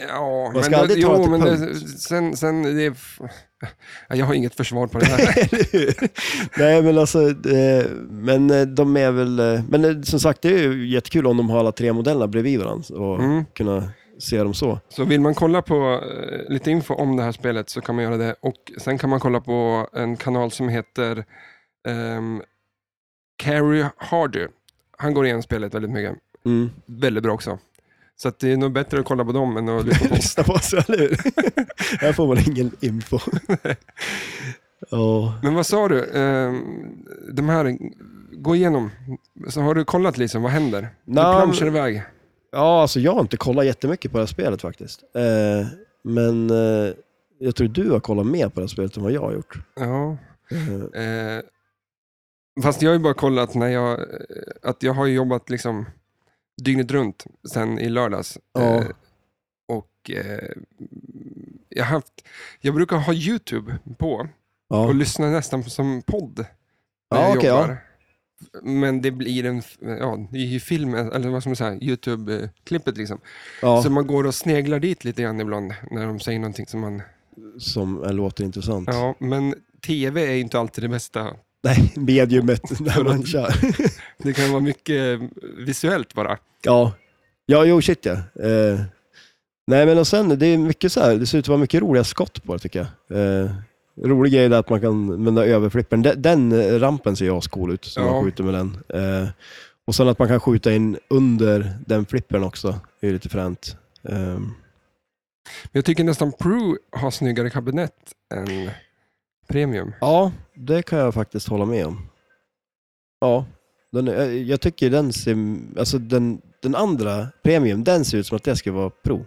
S1: Ja,
S2: Man ska aldrig ta det till
S1: men det,
S2: punkt.
S1: sen, sen det är... Ja, Jag har inget försvar på det här.
S2: Nej, men alltså, eh, men eh, de är väl, eh, men eh, som sagt det är ju jättekul om de har alla tre modellerna bredvid varandra och
S1: Mm.
S2: kunna se dem så.
S1: Så vill man kolla på eh, lite info om det här spelet så kan man göra det. Och sen kan man kolla på en kanal som heter um, Carrie Harder. Han går igenom spelet väldigt mycket.
S2: Mm.
S1: Väldigt bra också. Så att det är nog bättre att kolla på dem än att lyssna på oss.
S2: Lyssna på oss, eller hur? Här får man ingen info. Ja.
S1: Men vad sa du? Ehm, de här, gå igenom. Så har du kollat liksom, vad händer? Du
S2: Nej,
S1: planschar iväg.
S2: ja, alltså jag har inte kollat jättemycket på det här spelet faktiskt. Eh, men eh, jag tror du har kollat mer på det här spelet än vad jag har gjort.
S1: Ja.
S2: Eh,
S1: Eh, fast jag har ju bara kollat när jag, eh, att jag har ju jobbat liksom dygnet runt sen i lördags.
S2: Ja.
S1: Eh, och eh, jag, har haft, jag brukar ha YouTube på och
S2: ja.
S1: lyssna nästan som podd när
S2: Ja,
S1: jag
S2: okej, ja.
S1: jobbar. Men det blir en, f- ja, det är ju filmen, eller vad ska man säga, YouTube-klippet liksom.
S2: ja,
S1: Så man går och sneglar dit lite grann ibland när de säger någonting som man...
S2: som eh, låter intressant.
S1: Ja, men TV är ju inte alltid det bästa.
S2: Nej, mediumet när man kör.
S1: Det kan vara mycket eh, visuellt bara.
S2: Ja, ja jo shit ja. Eh, nej men och sen, det är mycket så här, det ser ut att vara mycket roliga skott på det tycker jag. Eh, rolig grej är att man kan vända över flippen. Den, den eh, rampen ser ju ascool ut, som
S1: Ja.
S2: man skjuter med den. Eh, och sen att man kan skjuta in under den flippen också, är ju lite fränt. Eh,
S1: Men jag tycker nästan Pro har snyggare kabinett än Premium.
S2: ja, det kan jag faktiskt hålla med om. Ja, den, är- eh, jag tycker den ser, alltså den, den andra premium, den ser ut som att det ska vara pro.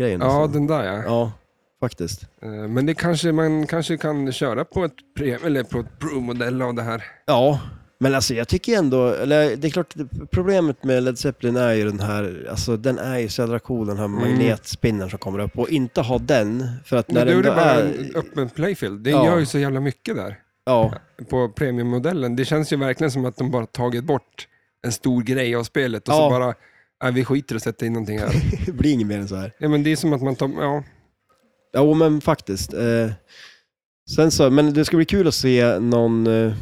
S2: Grejen
S1: Ja,
S2: alltså.
S1: den där ja.
S2: ja, faktiskt.
S1: Eh, Men det kanske, man kanske kan köra på ett, pre, eller på ett Pro-modell av det här.
S2: Ja, men alltså jag tycker ändå, eller det är klart, problemet med Led Zeppelin är ju den här, alltså den är ju så jädra cool, den här magnetspinnen som kommer upp. Och inte ha den, för att när
S1: Mm. Men då är
S2: den
S1: det
S2: då
S1: bara
S2: är...
S1: en öppen playfield. Det
S2: Ja.
S1: gör ju så jävla mycket där
S2: Ja,
S1: på premiummodellen. Det känns ju verkligen som att de bara tagit bort en stor grej av spelet och
S2: Ja.
S1: så bara, nej vi skiter och sätter in någonting här.
S2: det blir inget mer än så här.
S1: ja, men det är som att man tar, ja,
S2: Jo, men faktiskt. Eh, sen så, men det ska bli kul att se någon eh,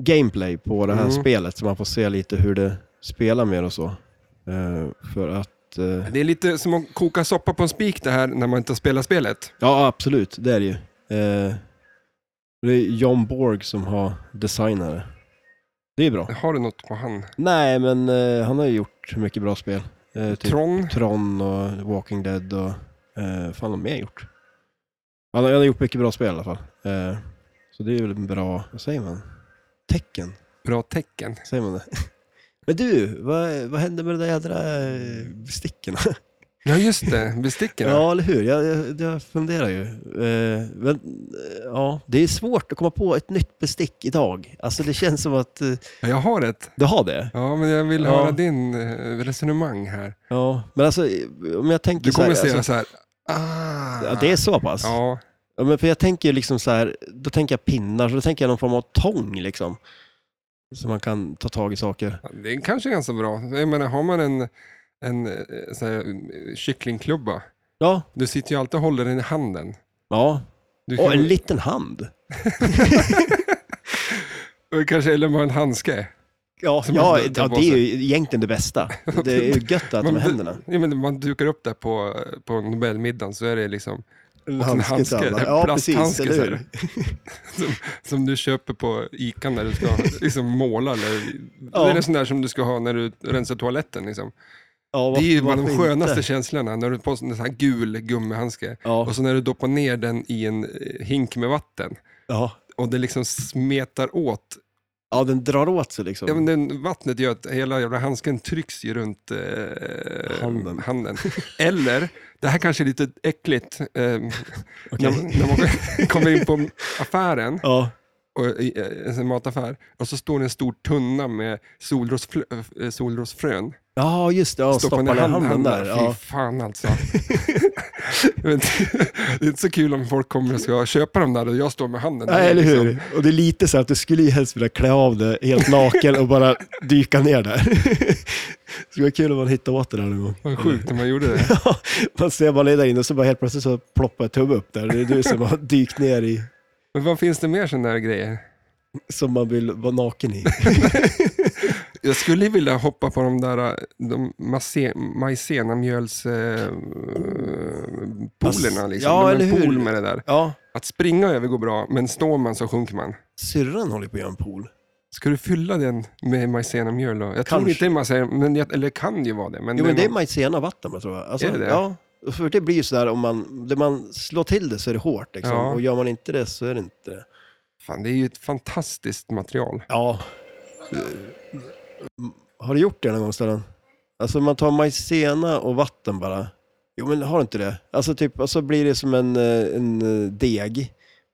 S2: gameplay på det här
S1: Mm.
S2: spelet, så man får se lite hur det spelar mer och så. Eh, för att... Eh,
S1: det är lite som att koka soppa på en spik det här när man inte spelar spelet.
S2: ja, absolut, det är det ju. Eh, det är John Borg som har designat det. Det är bra.
S1: Har du något på hand?
S2: Nej, men eh, han har ju gjort mycket bra spel. Eh, typ
S1: Tron?
S2: Tron och Walking Dead och... Eh, fan, har han mer gjort? Han har, han har gjort mycket bra spel i alla fall. Eh, så det är väl en bra, vad säger man? Tecken,
S1: Bra tecken.
S2: säger man det? Men du, vad, vad hände med de där jädra eh, stickorna?
S1: Ja just det, besticken.
S2: Ja, eller hur? Jag, jag, jag funderar ju. Eh, men, eh, ja, det är svårt att komma på ett nytt bestick idag. Alltså det känns som att... Eh,
S1: Jag har ett.
S2: du har det?
S1: Ja, men jag vill
S2: Ja.
S1: höra din eh, resonemang här.
S2: Ja, men alltså om jag tänker
S1: Du kommer
S2: så
S1: säga
S2: här...
S1: så här, ah.
S2: alltså. ja, det är så pass?
S1: Ja,
S2: Ja, men för jag tänker ju liksom så här, då tänker jag pinnar, så då tänker jag någon form av tång liksom. Så man kan ta tag i saker.
S1: det är kanske ganska bra. Jag menar, har man en, en eh, så här, eh, kycklingklubba,
S2: Ja,
S1: du sitter ju alltid och håller den i handen.
S2: ja.
S1: Du
S2: Och
S1: kan-
S2: en liten hand.
S1: och kanske, eller bara en handske.
S2: Ja,
S1: Som man
S2: ja,
S1: kan ta
S2: ja
S1: på
S2: det är
S1: sig.
S2: ju egentligen det bästa. Det är ju gött att
S1: Man-
S2: med händerna.
S1: Ja, men man dukar upp det på, på Nobelmiddagen så är det liksom en
S2: Handske till
S1: handske,
S2: alla.
S1: en
S2: Ja, precis.
S1: plasthandske,
S2: Eller
S1: så
S2: hur?
S1: här. som, som du köper på Ica när du ska liksom, måla. Eller,
S2: Ja.
S1: Det är en sån där som du ska ha när du rensar toaletten. Liksom.
S2: Ja,
S1: Det är ju
S2: varför-
S1: bara de
S2: varför
S1: skönaste
S2: inte?
S1: känslorna, när du på en sån här gul gummihandske
S2: Ja.
S1: och så när du doppar ner den i en eh, hink med vatten
S2: Ja.
S1: och det liksom smetar åt.
S2: ja, den drar åt sig liksom.
S1: Ja, men den, vattnet gör att hela jävla handsken trycks ju runt eh,
S2: Handen.
S1: Eller, det här kanske är lite äckligt, eh,
S2: Okej.
S1: när, när man kommer in på affären,
S2: Ja,
S1: och, i, eh, en mataffär, och så står det en stor tunna med solrosflö, eh, solrosfrön.
S2: ja just det. Ja, stoppa ner handen, där.
S1: Fy
S2: Ja.
S1: fan alltså. Men det- det är inte så kul om folk kommer och ska köpa dem där och jag står med handen
S2: Nej, eller hur? Och det är lite så här att du skulle ju helst vilja klä av dig helt naken och bara dyka ner där. Det skulle vara kul om man hittade åt det där någon gång.
S1: Vad sjukt när man gjorde det.
S2: Ja, man ser bara där inne och så bara helt plötsligt så ploppar ett tumme upp där. Det är du som har dykt ner i,
S1: Men vad finns det mer sådana där grejer?
S2: som man vill vara naken i.
S1: Jag skulle ju vilja hoppa på de där eh, de masse- majsenamjöls-poolerna.
S2: Ass-
S1: liksom.
S2: ja,
S1: de är
S2: eller
S1: en
S2: hur?
S1: pool med det där.
S2: Ja,
S1: Att springa över går bra, men står man så sjunker man.
S2: syrran håller på att göra en pool.
S1: Ska du fylla den med majsenamjöl? då? Jag tror
S2: Kanske.
S1: inte det är majsena, men jag, eller kan ju vara det. Men
S2: Jo, men det är
S1: någon-
S2: majsena vatten, jag tror jag. Alltså,
S1: Är det det?
S2: Ja, för det blir ju sådär om man, det man slår till det så är det hårt liksom.
S1: Ja.
S2: Och gör man inte det så är det inte det.
S1: fan, det är ju ett fantastiskt material.
S2: Ja. Har du gjort det någon gång, Stellan? Alltså man tar majsena och vatten bara. Jo, men har du inte det? Alltså typ, och så blir det som en, eh, en eh, deg.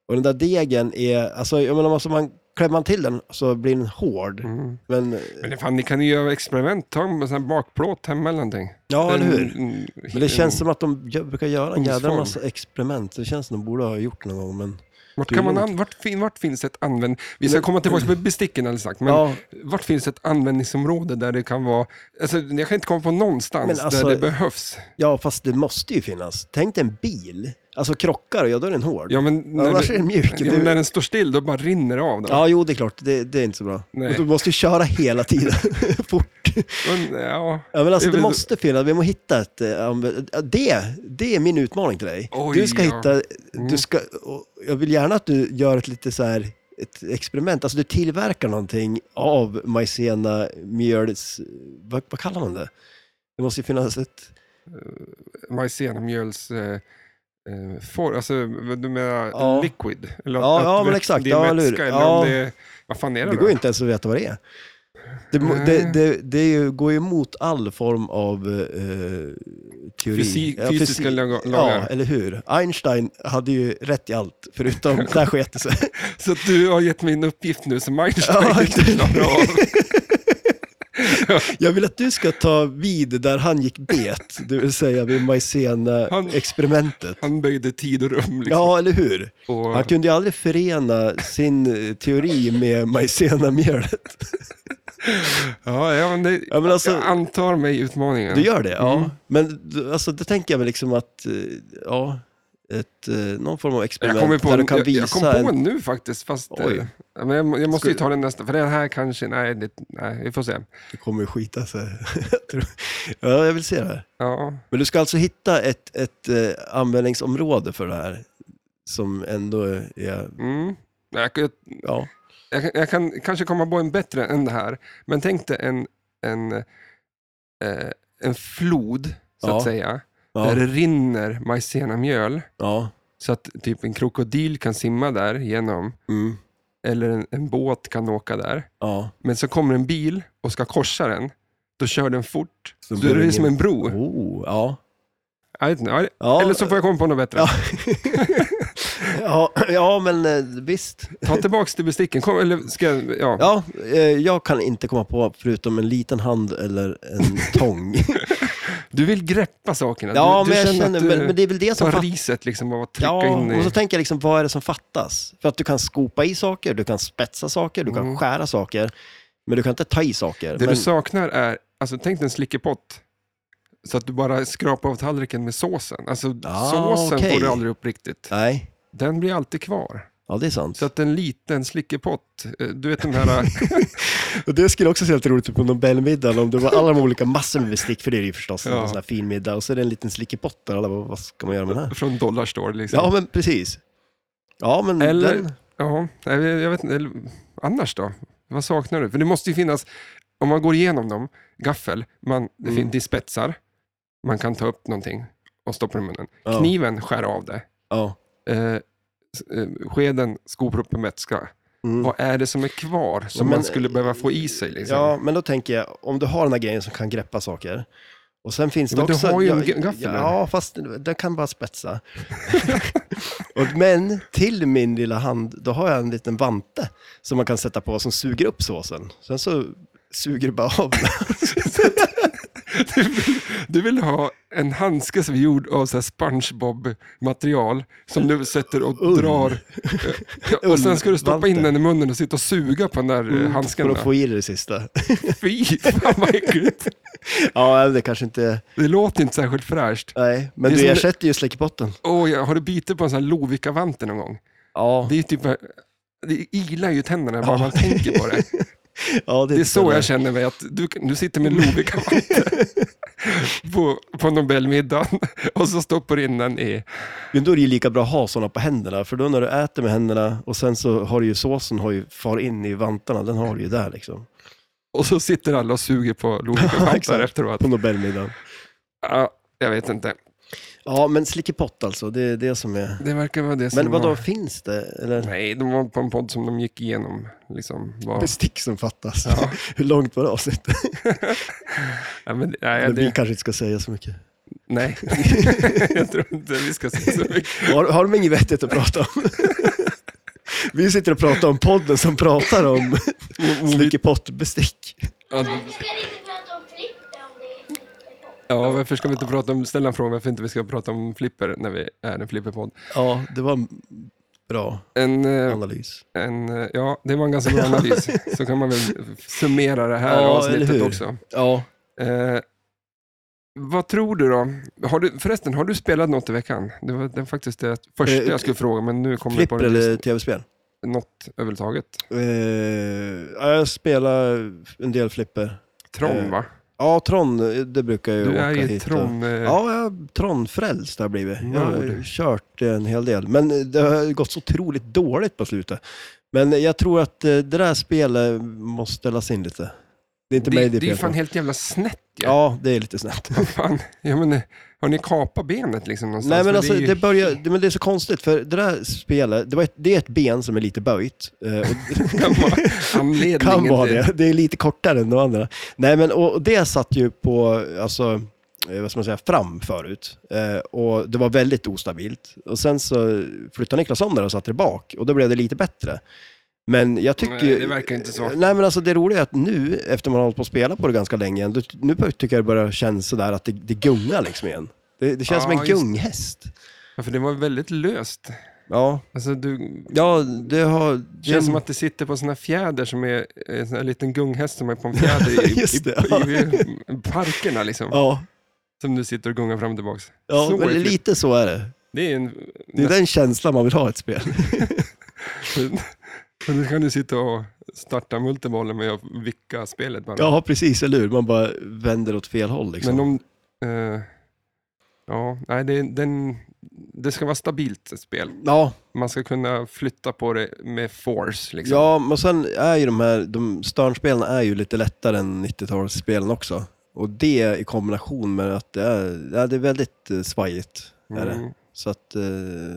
S2: Och den där degen är, alltså jag menar, alltså man, klämmer man till den så blir den hård.
S1: Mm.
S2: Men, eh,
S1: Men det fan, ni kan ju göra experiment. Ta en sån här bakplåt hemma eller någonting. Mm,
S2: ja, eller hur?
S1: En-
S2: Men det känns som att de gö- brukar göra en jädra
S1: Ugnsform.
S2: massa experiment. Det känns som de borde ha gjort någon gång, men...
S1: Vart, kan man an, vart, fin- vart finns ett använd... Vi ska komma tillbaka till besticken alldeles strax, men
S2: Ja.
S1: vart finns ett användningsområde där det kan vara... Alltså, jag kan inte komma på någonstans
S2: Men alltså-
S1: där det behövs.
S2: Ja, fast det måste ju finnas. Tänk dig en bil. Alltså krockar, ja då är den hård.
S1: Ja, men när,
S2: Annars
S1: du-
S2: är den mjuk.
S1: Ja,
S2: Du-
S1: men när den står still, då bara rinner det av. Då.
S2: Ja, jo det är klart. Det, det är inte så bra.
S1: Nej.
S2: Och Du måste ju köra hela tiden, fort.
S1: Men, ja.
S2: Ja, men alltså,
S1: Jag
S2: det
S1: vet-
S2: måste finnas, vi måste hitta ett... eh, anv- ja, Det, det är min utmaning till dig.
S1: Oj,
S2: du ska
S1: ja. Mm.
S2: hitta... Du ska, och jag vill gärna att du gör ett lite så här ett experiment, alltså du tillverkar någonting av majsena mjöls... Vad, vad kallar man det? Det måste ju finnas ett...
S1: Majsenamjöls... Eh, eh, for, alltså, vad du menar
S2: Ja.
S1: liquid? Eller
S2: Ja,
S1: att
S2: ja, men
S1: vä-
S2: exakt.
S1: Det
S2: Ja,
S1: är
S2: eller hur?
S1: vätska, eller
S2: Ja.
S1: om det är... Vad fan är det
S2: Det
S1: då?
S2: går ju inte ens att veta vad det är. Det, må-
S1: Nej.
S2: det, det, det är ju, går ju emot all form av eh, teori.
S1: Fysi-
S2: Ja,
S1: fysiska
S2: fysi-
S1: lag-
S2: Ja,
S1: lagar.
S2: eller hur? Einstein hade ju rätt i allt, förutom där sket det sig.
S1: Så att du har gett mig en uppgift nu som Einstein
S2: Ja,
S1: inte
S2: det-
S1: klarar av.
S2: Jag vill att du ska ta vid där han gick bet, det vill säga vid
S1: Han-
S2: Maizena-experimentet.
S1: Han böjde tid och rum. Liksom.
S2: Ja, eller hur?
S1: och,
S2: Han kunde ju aldrig förena sin eh, teori med Maizena-mjölet.
S1: ja, ja, men det,
S2: Ja, men alltså-
S1: jag antar mig utmaningen.
S2: Du gör det? Ja.
S1: Mm.
S2: Men du- alltså, då tänker jag väl liksom att, eh, ja, ett, eh, någon form av
S1: jag
S2: experiment
S1: kommer på,
S2: där du
S1: en,
S2: kan
S1: jag,
S2: visa
S1: jag kom på
S2: en...
S1: en nu faktiskt, fast
S2: Oj.
S1: eh, ja, men jag, må- jag måste ju
S2: Ska-
S1: ta den nästa, för den här kanske, nej, det, nej vi får se.
S2: Det kommer ju skita sig. Jag tror- ja, jag vill se det här.
S1: Ja,
S2: Men du ska alltså hitta ett, ett eh, användningsområde för det här som ändå är,
S1: mm. jag, jag,
S2: ja,
S1: jag, kan- jag kan kanske komma på en bättre än det här, men tänk dig en, en, eh, en flod, så
S2: Ja.
S1: att säga, där
S2: ja,
S1: det rinner majsenamjöl,
S2: ja.
S1: så att typ en krokodil kan simma där genom,
S2: Mm.
S1: eller en, en båt kan åka där.
S2: Ja.
S1: Men så kommer en bil och ska korsa den. Då kör den fort.
S2: Så
S1: Så
S2: blir
S1: då är
S2: det
S1: det som
S2: ingen-
S1: en bro.
S2: Oh, ja.
S1: Jag vet inte, ja,
S2: ja.
S1: Eller så får jag komma på något bättre.
S2: Ja. ja, ja, men eh, visst.
S1: Ta tillbaka till besticken. Kom, eller ska jag, ja.
S2: Ja, eh, jag kan inte komma på förutom en liten hand eller en tång.
S1: Du vill greppa sakerna.
S2: ja,
S1: du,
S2: men
S1: du
S2: jag känner,
S1: att du
S2: men, men det är väl det som
S1: tar
S2: fattas.
S1: riset liksom och trycka
S2: Ja,
S1: in i...
S2: och så tänker jag liksom, vad är det som fattas? För att du kan skopa i saker, du kan spetsa saker, du kan
S1: Mm.
S2: skära saker, men du kan inte ta i saker.
S1: Det
S2: men,
S1: du saknar är, alltså tänk dig en slickepott. Så att du bara skrapar av tallriken med såsen. Alltså
S2: Ah,
S1: såsen
S2: okej.
S1: får du aldrig upp riktigt.
S2: Nej,
S1: Den blir alltid kvar.
S2: ja det är sant.
S1: Så att en liten slickepott, eh, du vet den här...
S2: Och det skulle också se helt roligt ut på Nobelmiddagen om det var alla de olika massor med bestick, för det är det ju förstås,
S1: Ja.
S2: en sån här fin middag, och så är det en liten slickepott där alla bara, vad ska man göra med den här?
S1: från Dollarstore liksom.
S2: Ja, men precis. Ja, men
S1: Eller-
S2: den...
S1: Ja, nej, jag jag vet inte. eller- Annars då? Vad saknar du? För det måste ju finnas, om man går igenom dem, gaffel, man, det,
S2: Mm.
S1: fin- det är spetsar, man kan ta upp någonting och stoppa den i munnen.
S2: Ja.
S1: Kniven skär av det.
S2: Ja.
S1: Eh, s- eh, skeden, skoproppen, vätska.
S2: Mm.
S1: Vad är det som är kvar som
S2: Ja, men-
S1: man skulle behöva få i sig? Liksom?
S2: ja, men då tänker jag, om du har den här grejen som kan greppa saker, och sen finns
S1: Ja,
S2: det
S1: men du
S2: också...
S1: har ju en
S2: ja,
S1: g- gaffel där.
S2: Ja, fast den kan bara spetsa. och, men till min lilla hand, då har jag en liten vante som man kan sätta på som suger upp såsen. Sen så suger det bara av.
S1: Du, vill, du vill ha en handske som är gjord av så här SpongeBob-material som du sätter och
S2: Ull.
S1: drar. Ja, Och sen ska du stoppa in
S2: Ullvalter. Mm,
S1: den i munnen och sitta och suga på den där eh, handsken.
S2: För att
S1: där.
S2: få i det, det sista.
S1: Fy fan vad äckligt.
S2: ja, det kanske inte...
S1: Det låter inte särskilt fräscht.
S2: Nej, men
S1: Det är
S2: du
S1: som-
S2: ersätter ju släckbotten.
S1: Åh, jag har du bitit på en sån här Lovikka-vante någon gång?
S2: Ja,
S1: Det är typ... Det ilar ju tänderna bara
S2: Ja.
S1: man tänker på det.
S2: ja,
S1: Det är så
S2: stämmer.
S1: jag känner mig, att du, du sitter med en Lovikka-vante på, på Nobelmiddagen och så stoppar du in den i...
S2: Men då är det ju lika bra att ha sådana på händerna, för då när du äter med händerna och sen så har du ju såsen har ju far in i vantarna, den har du ju där liksom.
S1: Och så sitter alla och suger på Lovikka-vantar
S2: Exakt.
S1: efteråt.
S2: På Nobelmiddagen.
S1: Ja, jag vet inte.
S2: Ja, men slickepott alltså, det är det som är...
S1: Det verkar vara det som
S2: Men vadå,
S1: var...
S2: finns det? Eller?
S1: Nej, de var på en podd som de gick igenom. Liksom, vad...
S2: Bestick som fattas.
S1: Ja.
S2: Hur långt var det avsnittet?
S1: ja, men, nej,
S2: Men Vi
S1: det...
S2: kanske inte ska säga så mycket.
S1: Nej, jag tror inte vi ska säga så mycket.
S2: Har, har de inget vettigt att prata om? Vi sitter och pratar om podden som pratar om slickepottbestick.
S1: Ja,
S3: Varför ska ni inte prata om Flipper om det inte är på?
S1: Ja, varför ska vi inte prata om, ställa en fråga varför inte vi ska prata om flipper när vi är en flipperpodd.
S2: Ja, det var en bra
S1: En, eh,
S2: analys.
S1: en, eh, ja, det var en ganska bra analys. Så kan man väl summera det här
S2: Ja, eller
S1: avsnittet
S2: hur?
S1: också.
S2: Ja,
S1: Eh, vad tror du då? Har du, förresten, har du spelat något i veckan? Det var det var faktiskt det första
S2: Eh,
S1: jag skulle fråga, men nu kommer jag på
S2: flipper
S1: det.
S2: eller tv-spel?
S1: Något överhuvudtaget.
S2: Eh, ja, jag spelar en del flipper.
S1: Tron,
S2: Eh,
S1: va?
S2: Ja, Tron, eh, det brukar jag ju
S1: Du
S2: åka
S1: är ju
S2: hit och-
S1: Tron... eh,
S2: Ja, jag Tron-frälst har jag blivit. Jag har
S1: Nörd.
S2: kört en hel del, men det har gått så otroligt dåligt på slutet. Men jag tror att eh, det där spelet måste ställas in lite. Det är inte
S1: Det,
S2: mig
S1: det är ju
S2: fel på.
S1: fan helt jävla snett ju.
S2: Ja, det är lite snett.
S1: Fan. Ja, men, eh, Har ni kapat benet liksom någonstans?
S2: Nej, men alltså,
S1: är ju-
S2: det, börjar, det, men det är så konstigt, för det där spelet, det, var ett, det är ett ben som är lite böjt. eh, Och
S1: kan vara anledningen
S2: kan vara
S1: till-
S2: det. Det är lite kortare än de andra. Nej, men och och det satt ju på, alltså, eh, vad ska man säga, fram förut. Eh, och det var väldigt ostabilt. Och sen så flyttade Niklas om det och satte det bak och då blev det lite bättre. Men jag tycker
S1: Nej,
S2: ju-
S1: det verkar inte så.
S2: Nej, men alltså det roliga är att nu, efter man har hållit på att spela på det ganska länge, igen, då- nu tycker jag det börjar kännas sådär att det, det gungar liksom igen. Det, det känns
S1: Ja,
S2: som en
S1: just det.
S2: gunghäst.
S1: Ja, för det var väldigt löst.
S2: Ja,
S1: Alltså, du,
S2: ja det har...
S1: Det känns som att det sitter på sån här fjäder som är en sån här liten gunghäst som är på en fjäder i,
S2: Just det,
S1: i,
S2: ja.
S1: i, i parkerna liksom.
S2: Ja,
S1: Som du sitter och gungar fram och tillbaks.
S2: ja
S1: Så är
S2: men
S1: det.
S2: lite så är det.
S1: Det är en...
S2: Det är den känslan man vill ha i ett spel.
S1: Men nu kan du sitta och starta multibollen med att vicka spelet bara.
S2: Ja, precis, eller hur? Man bara vänder åt fel håll liksom.
S1: Men om... eh, ja, nej, det, den, det ska vara stabilt ett spel.
S2: Ja,
S1: Man ska kunna flytta på det med force liksom.
S2: ja, men sen är ju de här, de Stern-spelen är ju lite lättare än 90-talsspelen också. Och det i kombination med att det är, ja, det är väldigt eh, svajigt. Är det.
S1: Mm.
S2: Så att, eh,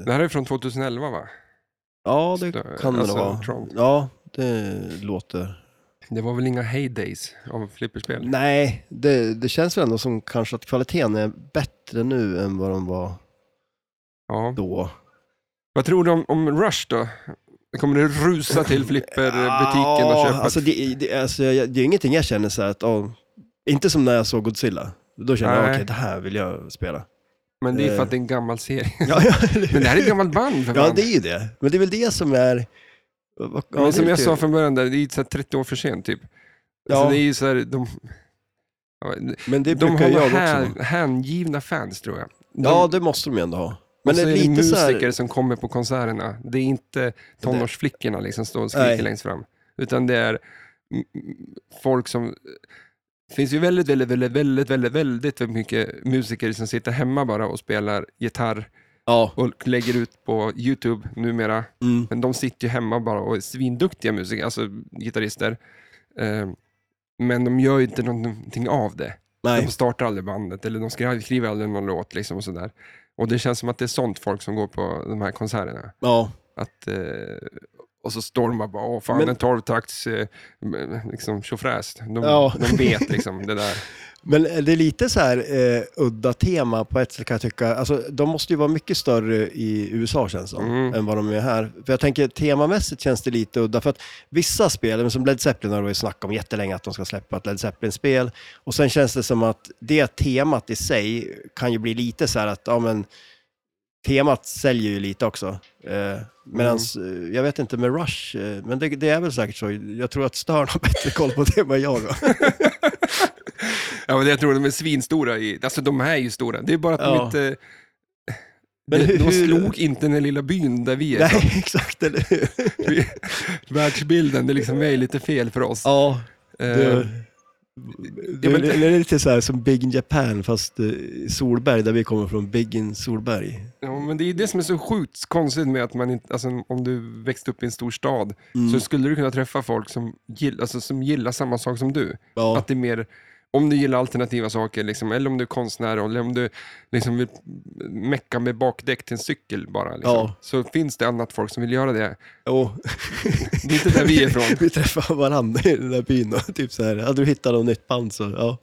S1: Det här är från 2011 va?
S2: ja det
S1: Stör-
S2: kan det
S1: alltså,
S2: nog vara.
S1: Tron.
S2: Ja, det låter...
S1: Det var väl inga heydays av flipperspel?
S2: Nej, det, det känns väl ändå som kanske att kvaliteten är bättre nu än vad de var
S1: Ja.
S2: då.
S1: Vad tror du om, om Rush då? Kommer du rusa till flipperbutiken och köpa? ett-
S2: Alltså det, det, alltså, jag, det är ingenting jag känner så här att, ja, inte som när jag såg Godzilla. Då kände jag,
S1: Nej.
S2: okej, det här vill jag spela.
S1: men det är för
S2: eh.
S1: att det är en gammal serie.
S2: Ja, ja, eller
S1: Men det här är
S2: hur?
S1: ett gammalt band för
S2: ja,
S1: fan.
S2: det är ju det. Men det är väl det som är... vad- ja, det
S1: Men som
S2: är
S1: jag
S2: kul.
S1: sa från början, där, det är ju så här 30 år för sent typ.
S2: Ja.
S1: Så det är ju så här, de, ja,
S2: men det
S1: de
S2: brukar
S1: har
S2: jag
S1: nog
S2: också.
S1: hän- hängivna fans tror jag. De,
S2: Ja, det måste de ju ändå ha. Men
S1: och så
S2: det är
S1: det
S2: lite så
S1: musiker
S2: här...
S1: som kommer på konserterna. Det är inte tonårsflickorna liksom står och skriker
S2: Nej.
S1: längst fram. Utan det är mm, folk som... Det finns ju väldigt, väldigt, väldigt, väldigt, väldigt, väldigt mycket musiker som sitter hemma bara och spelar gitarr
S2: Ja,
S1: och lägger ut på YouTube numera.
S2: mm,
S1: Men de sitter ju hemma bara och är svinduktiga musiker, alltså gitarrister. Eh, Men de gör ju inte någonting av det.
S2: nej.
S1: De startar aldrig bandet eller de skriver, skriver aldrig någon låt liksom och sådär. Och det känns som att det är sånt folk som går på de här konserterna.
S2: Ja,
S1: Att, eh, och så står de bara, åh fan
S2: Men-
S1: en tolvtakts eh, m- liksom tjofräs. De,
S2: Ja.
S1: de vet liksom det där.
S2: men är det är lite så här eh, udda tema på ett sätt kan jag tycka. Alltså, de måste ju vara mycket större i USA känns det som,
S1: Mm.
S2: än vad de är här. För jag tänker temamässigt känns det lite udda. För att vissa spel, men som Led Zeppelin har de ju snackat om jättelänge att de ska släppa ett Led Zeppelin-spel. Och sen känns det som att det temat i sig kan ju bli lite så här att, ja men, temat säljer ju lite också. Eh, medans, eh, jag vet inte med Rush, eh, men det, det är väl säkert så. Jag tror att Stern har bättre koll på det än vad jag har.
S1: Ja, men jag tror de är svinstora, i, alltså de är ju stora. Det är bara att de
S2: Ja.
S1: inte,
S2: Men
S1: de, de
S2: hur-
S1: slog inte den här lilla byn där vi är.
S2: Nej, exakt, eller hur?
S1: Vi- Världsbilden, det liksom är lite fel för oss.
S2: Ja,
S1: Eh,
S2: det, det,
S1: men-
S2: det, det är lite så här som Big in Japan fast eh, Solberg, där vi kommer från, Big in Solberg.
S1: Ja, men det är det som är så sjukt konstigt med att man inte, alltså, om du växte upp i en stor stad
S2: Mm.
S1: så skulle du kunna träffa folk som, gill, alltså, som gillar samma sak som du.
S2: Ja.
S1: Att det är mer, om du gillar alternativa saker, liksom, eller om du är konstnär, eller om du liksom, vill mecka med bakdäck till en cykel bara, liksom,
S2: Ja.
S1: så finns det annat folk som vill göra det.
S2: Jo.
S1: Det är inte där vi är ifrån.
S2: vi träffar varandra i den där byn och typ så här, hade du hittat något nytt band så, ja.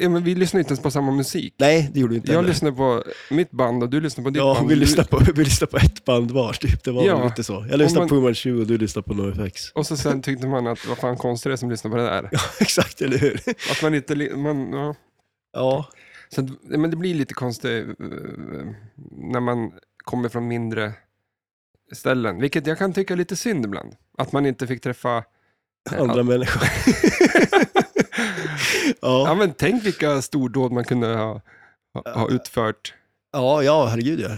S1: Ja, men vi lyssnar inte ens på samma musik.
S2: Nej, det gjorde du inte
S1: Jag
S2: heller.
S1: lyssnar på mitt band och du lyssnar på ditt
S2: Ja,
S1: band.
S2: vi
S1: Du-
S2: lyssnar, på, vi lyssnar på ett band var, typ. Det var
S1: Ja.
S2: väl lite så. Jag lyssnar
S1: man-
S2: på Human 20 och du lyssnar på NoFX.
S1: Och så sen tyckte man att, vad fan konstigt det är som lyssnar på det där.
S2: Exakt, eller hur?
S1: Att man inte, li- man, ja.
S2: Ja,
S1: Så att, men det blir lite konstigt eh, när man kommer från mindre ställen, vilket jag kan tycka är lite synd ibland. Att man inte fick träffa...
S2: andra människor.
S1: Ja,
S2: ja.
S1: men tänk vilka stordåd man kunde ha, ha, ha utfört.
S2: Ja, ja, herregud ja.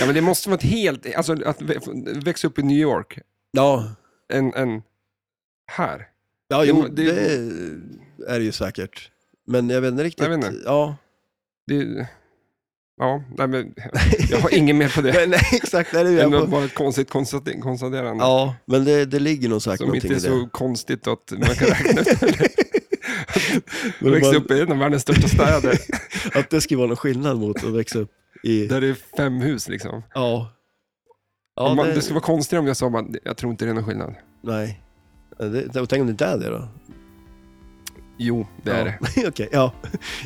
S1: Ja, men det måste vara ett helt... Alltså att vä- växa upp i New York,
S2: Ja,
S1: än, än här.
S2: ja
S1: Det-
S2: jo,
S1: det-
S2: det, är det ju säkert. Men jag vet inte riktigt.
S1: Jag vet inte.
S2: Ja.
S1: Det, ja, nej, men, jag har inget mer på det.
S2: Men, nej, exakt, det är det
S1: Det var
S2: jag på.
S1: bara ett konstigt konstater- konstaterande.
S2: Ja, men det, det ligger nog säkert
S1: Som
S2: någonting
S1: inte är
S2: i det.
S1: så konstigt att man kan räkna ut.
S2: Men det
S1: växte
S2: var-
S1: upp i en av världens största städer.
S2: Att det skulle vara någon skillnad mot att växa upp i...
S1: där det är fem hus liksom.
S2: Ja.
S1: Om
S2: Ja,
S1: man,
S2: det-
S1: det... skulle vara konstigt om jag sa att jag tror inte det är någon skillnad.
S2: Nej. Ja, Det, och tänk om det inte är det då?
S1: Jo, det är det.
S2: Okej, ja.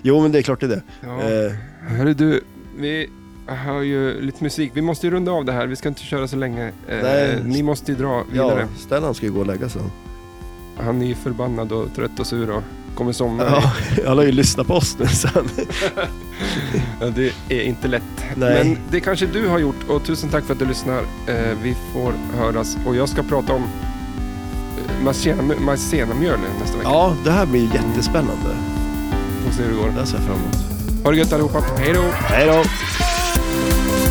S2: Jo, men det är klart det är det.
S1: Ja.
S2: Eh,
S1: Hörru du, vi hör ju lite musik. Vi måste ju runda av det här. Vi ska inte köra så länge. Eh,
S2: Nej.
S1: Ni måste ju dra vidare.
S2: ja, Stellan ska ju gå och lägga sig.
S1: Han är ju förbannad och trött och sur och kommer somna.
S2: Ja, alla har ju lyssnat på oss nu sen.
S1: Ja, Det är inte lätt.
S2: Nej.
S1: Men det kanske du har gjort och tusen tack för att du lyssnar. Eh, vi får höras och jag ska prata om eh, maizena- maizenamjöl nästa vecka.
S2: Ja, det här blir ju jättespännande.
S1: Får se hur det går.
S2: Det här ser jag fram emot.
S1: Ha det gött allihopa. Hej då!
S2: Hej då!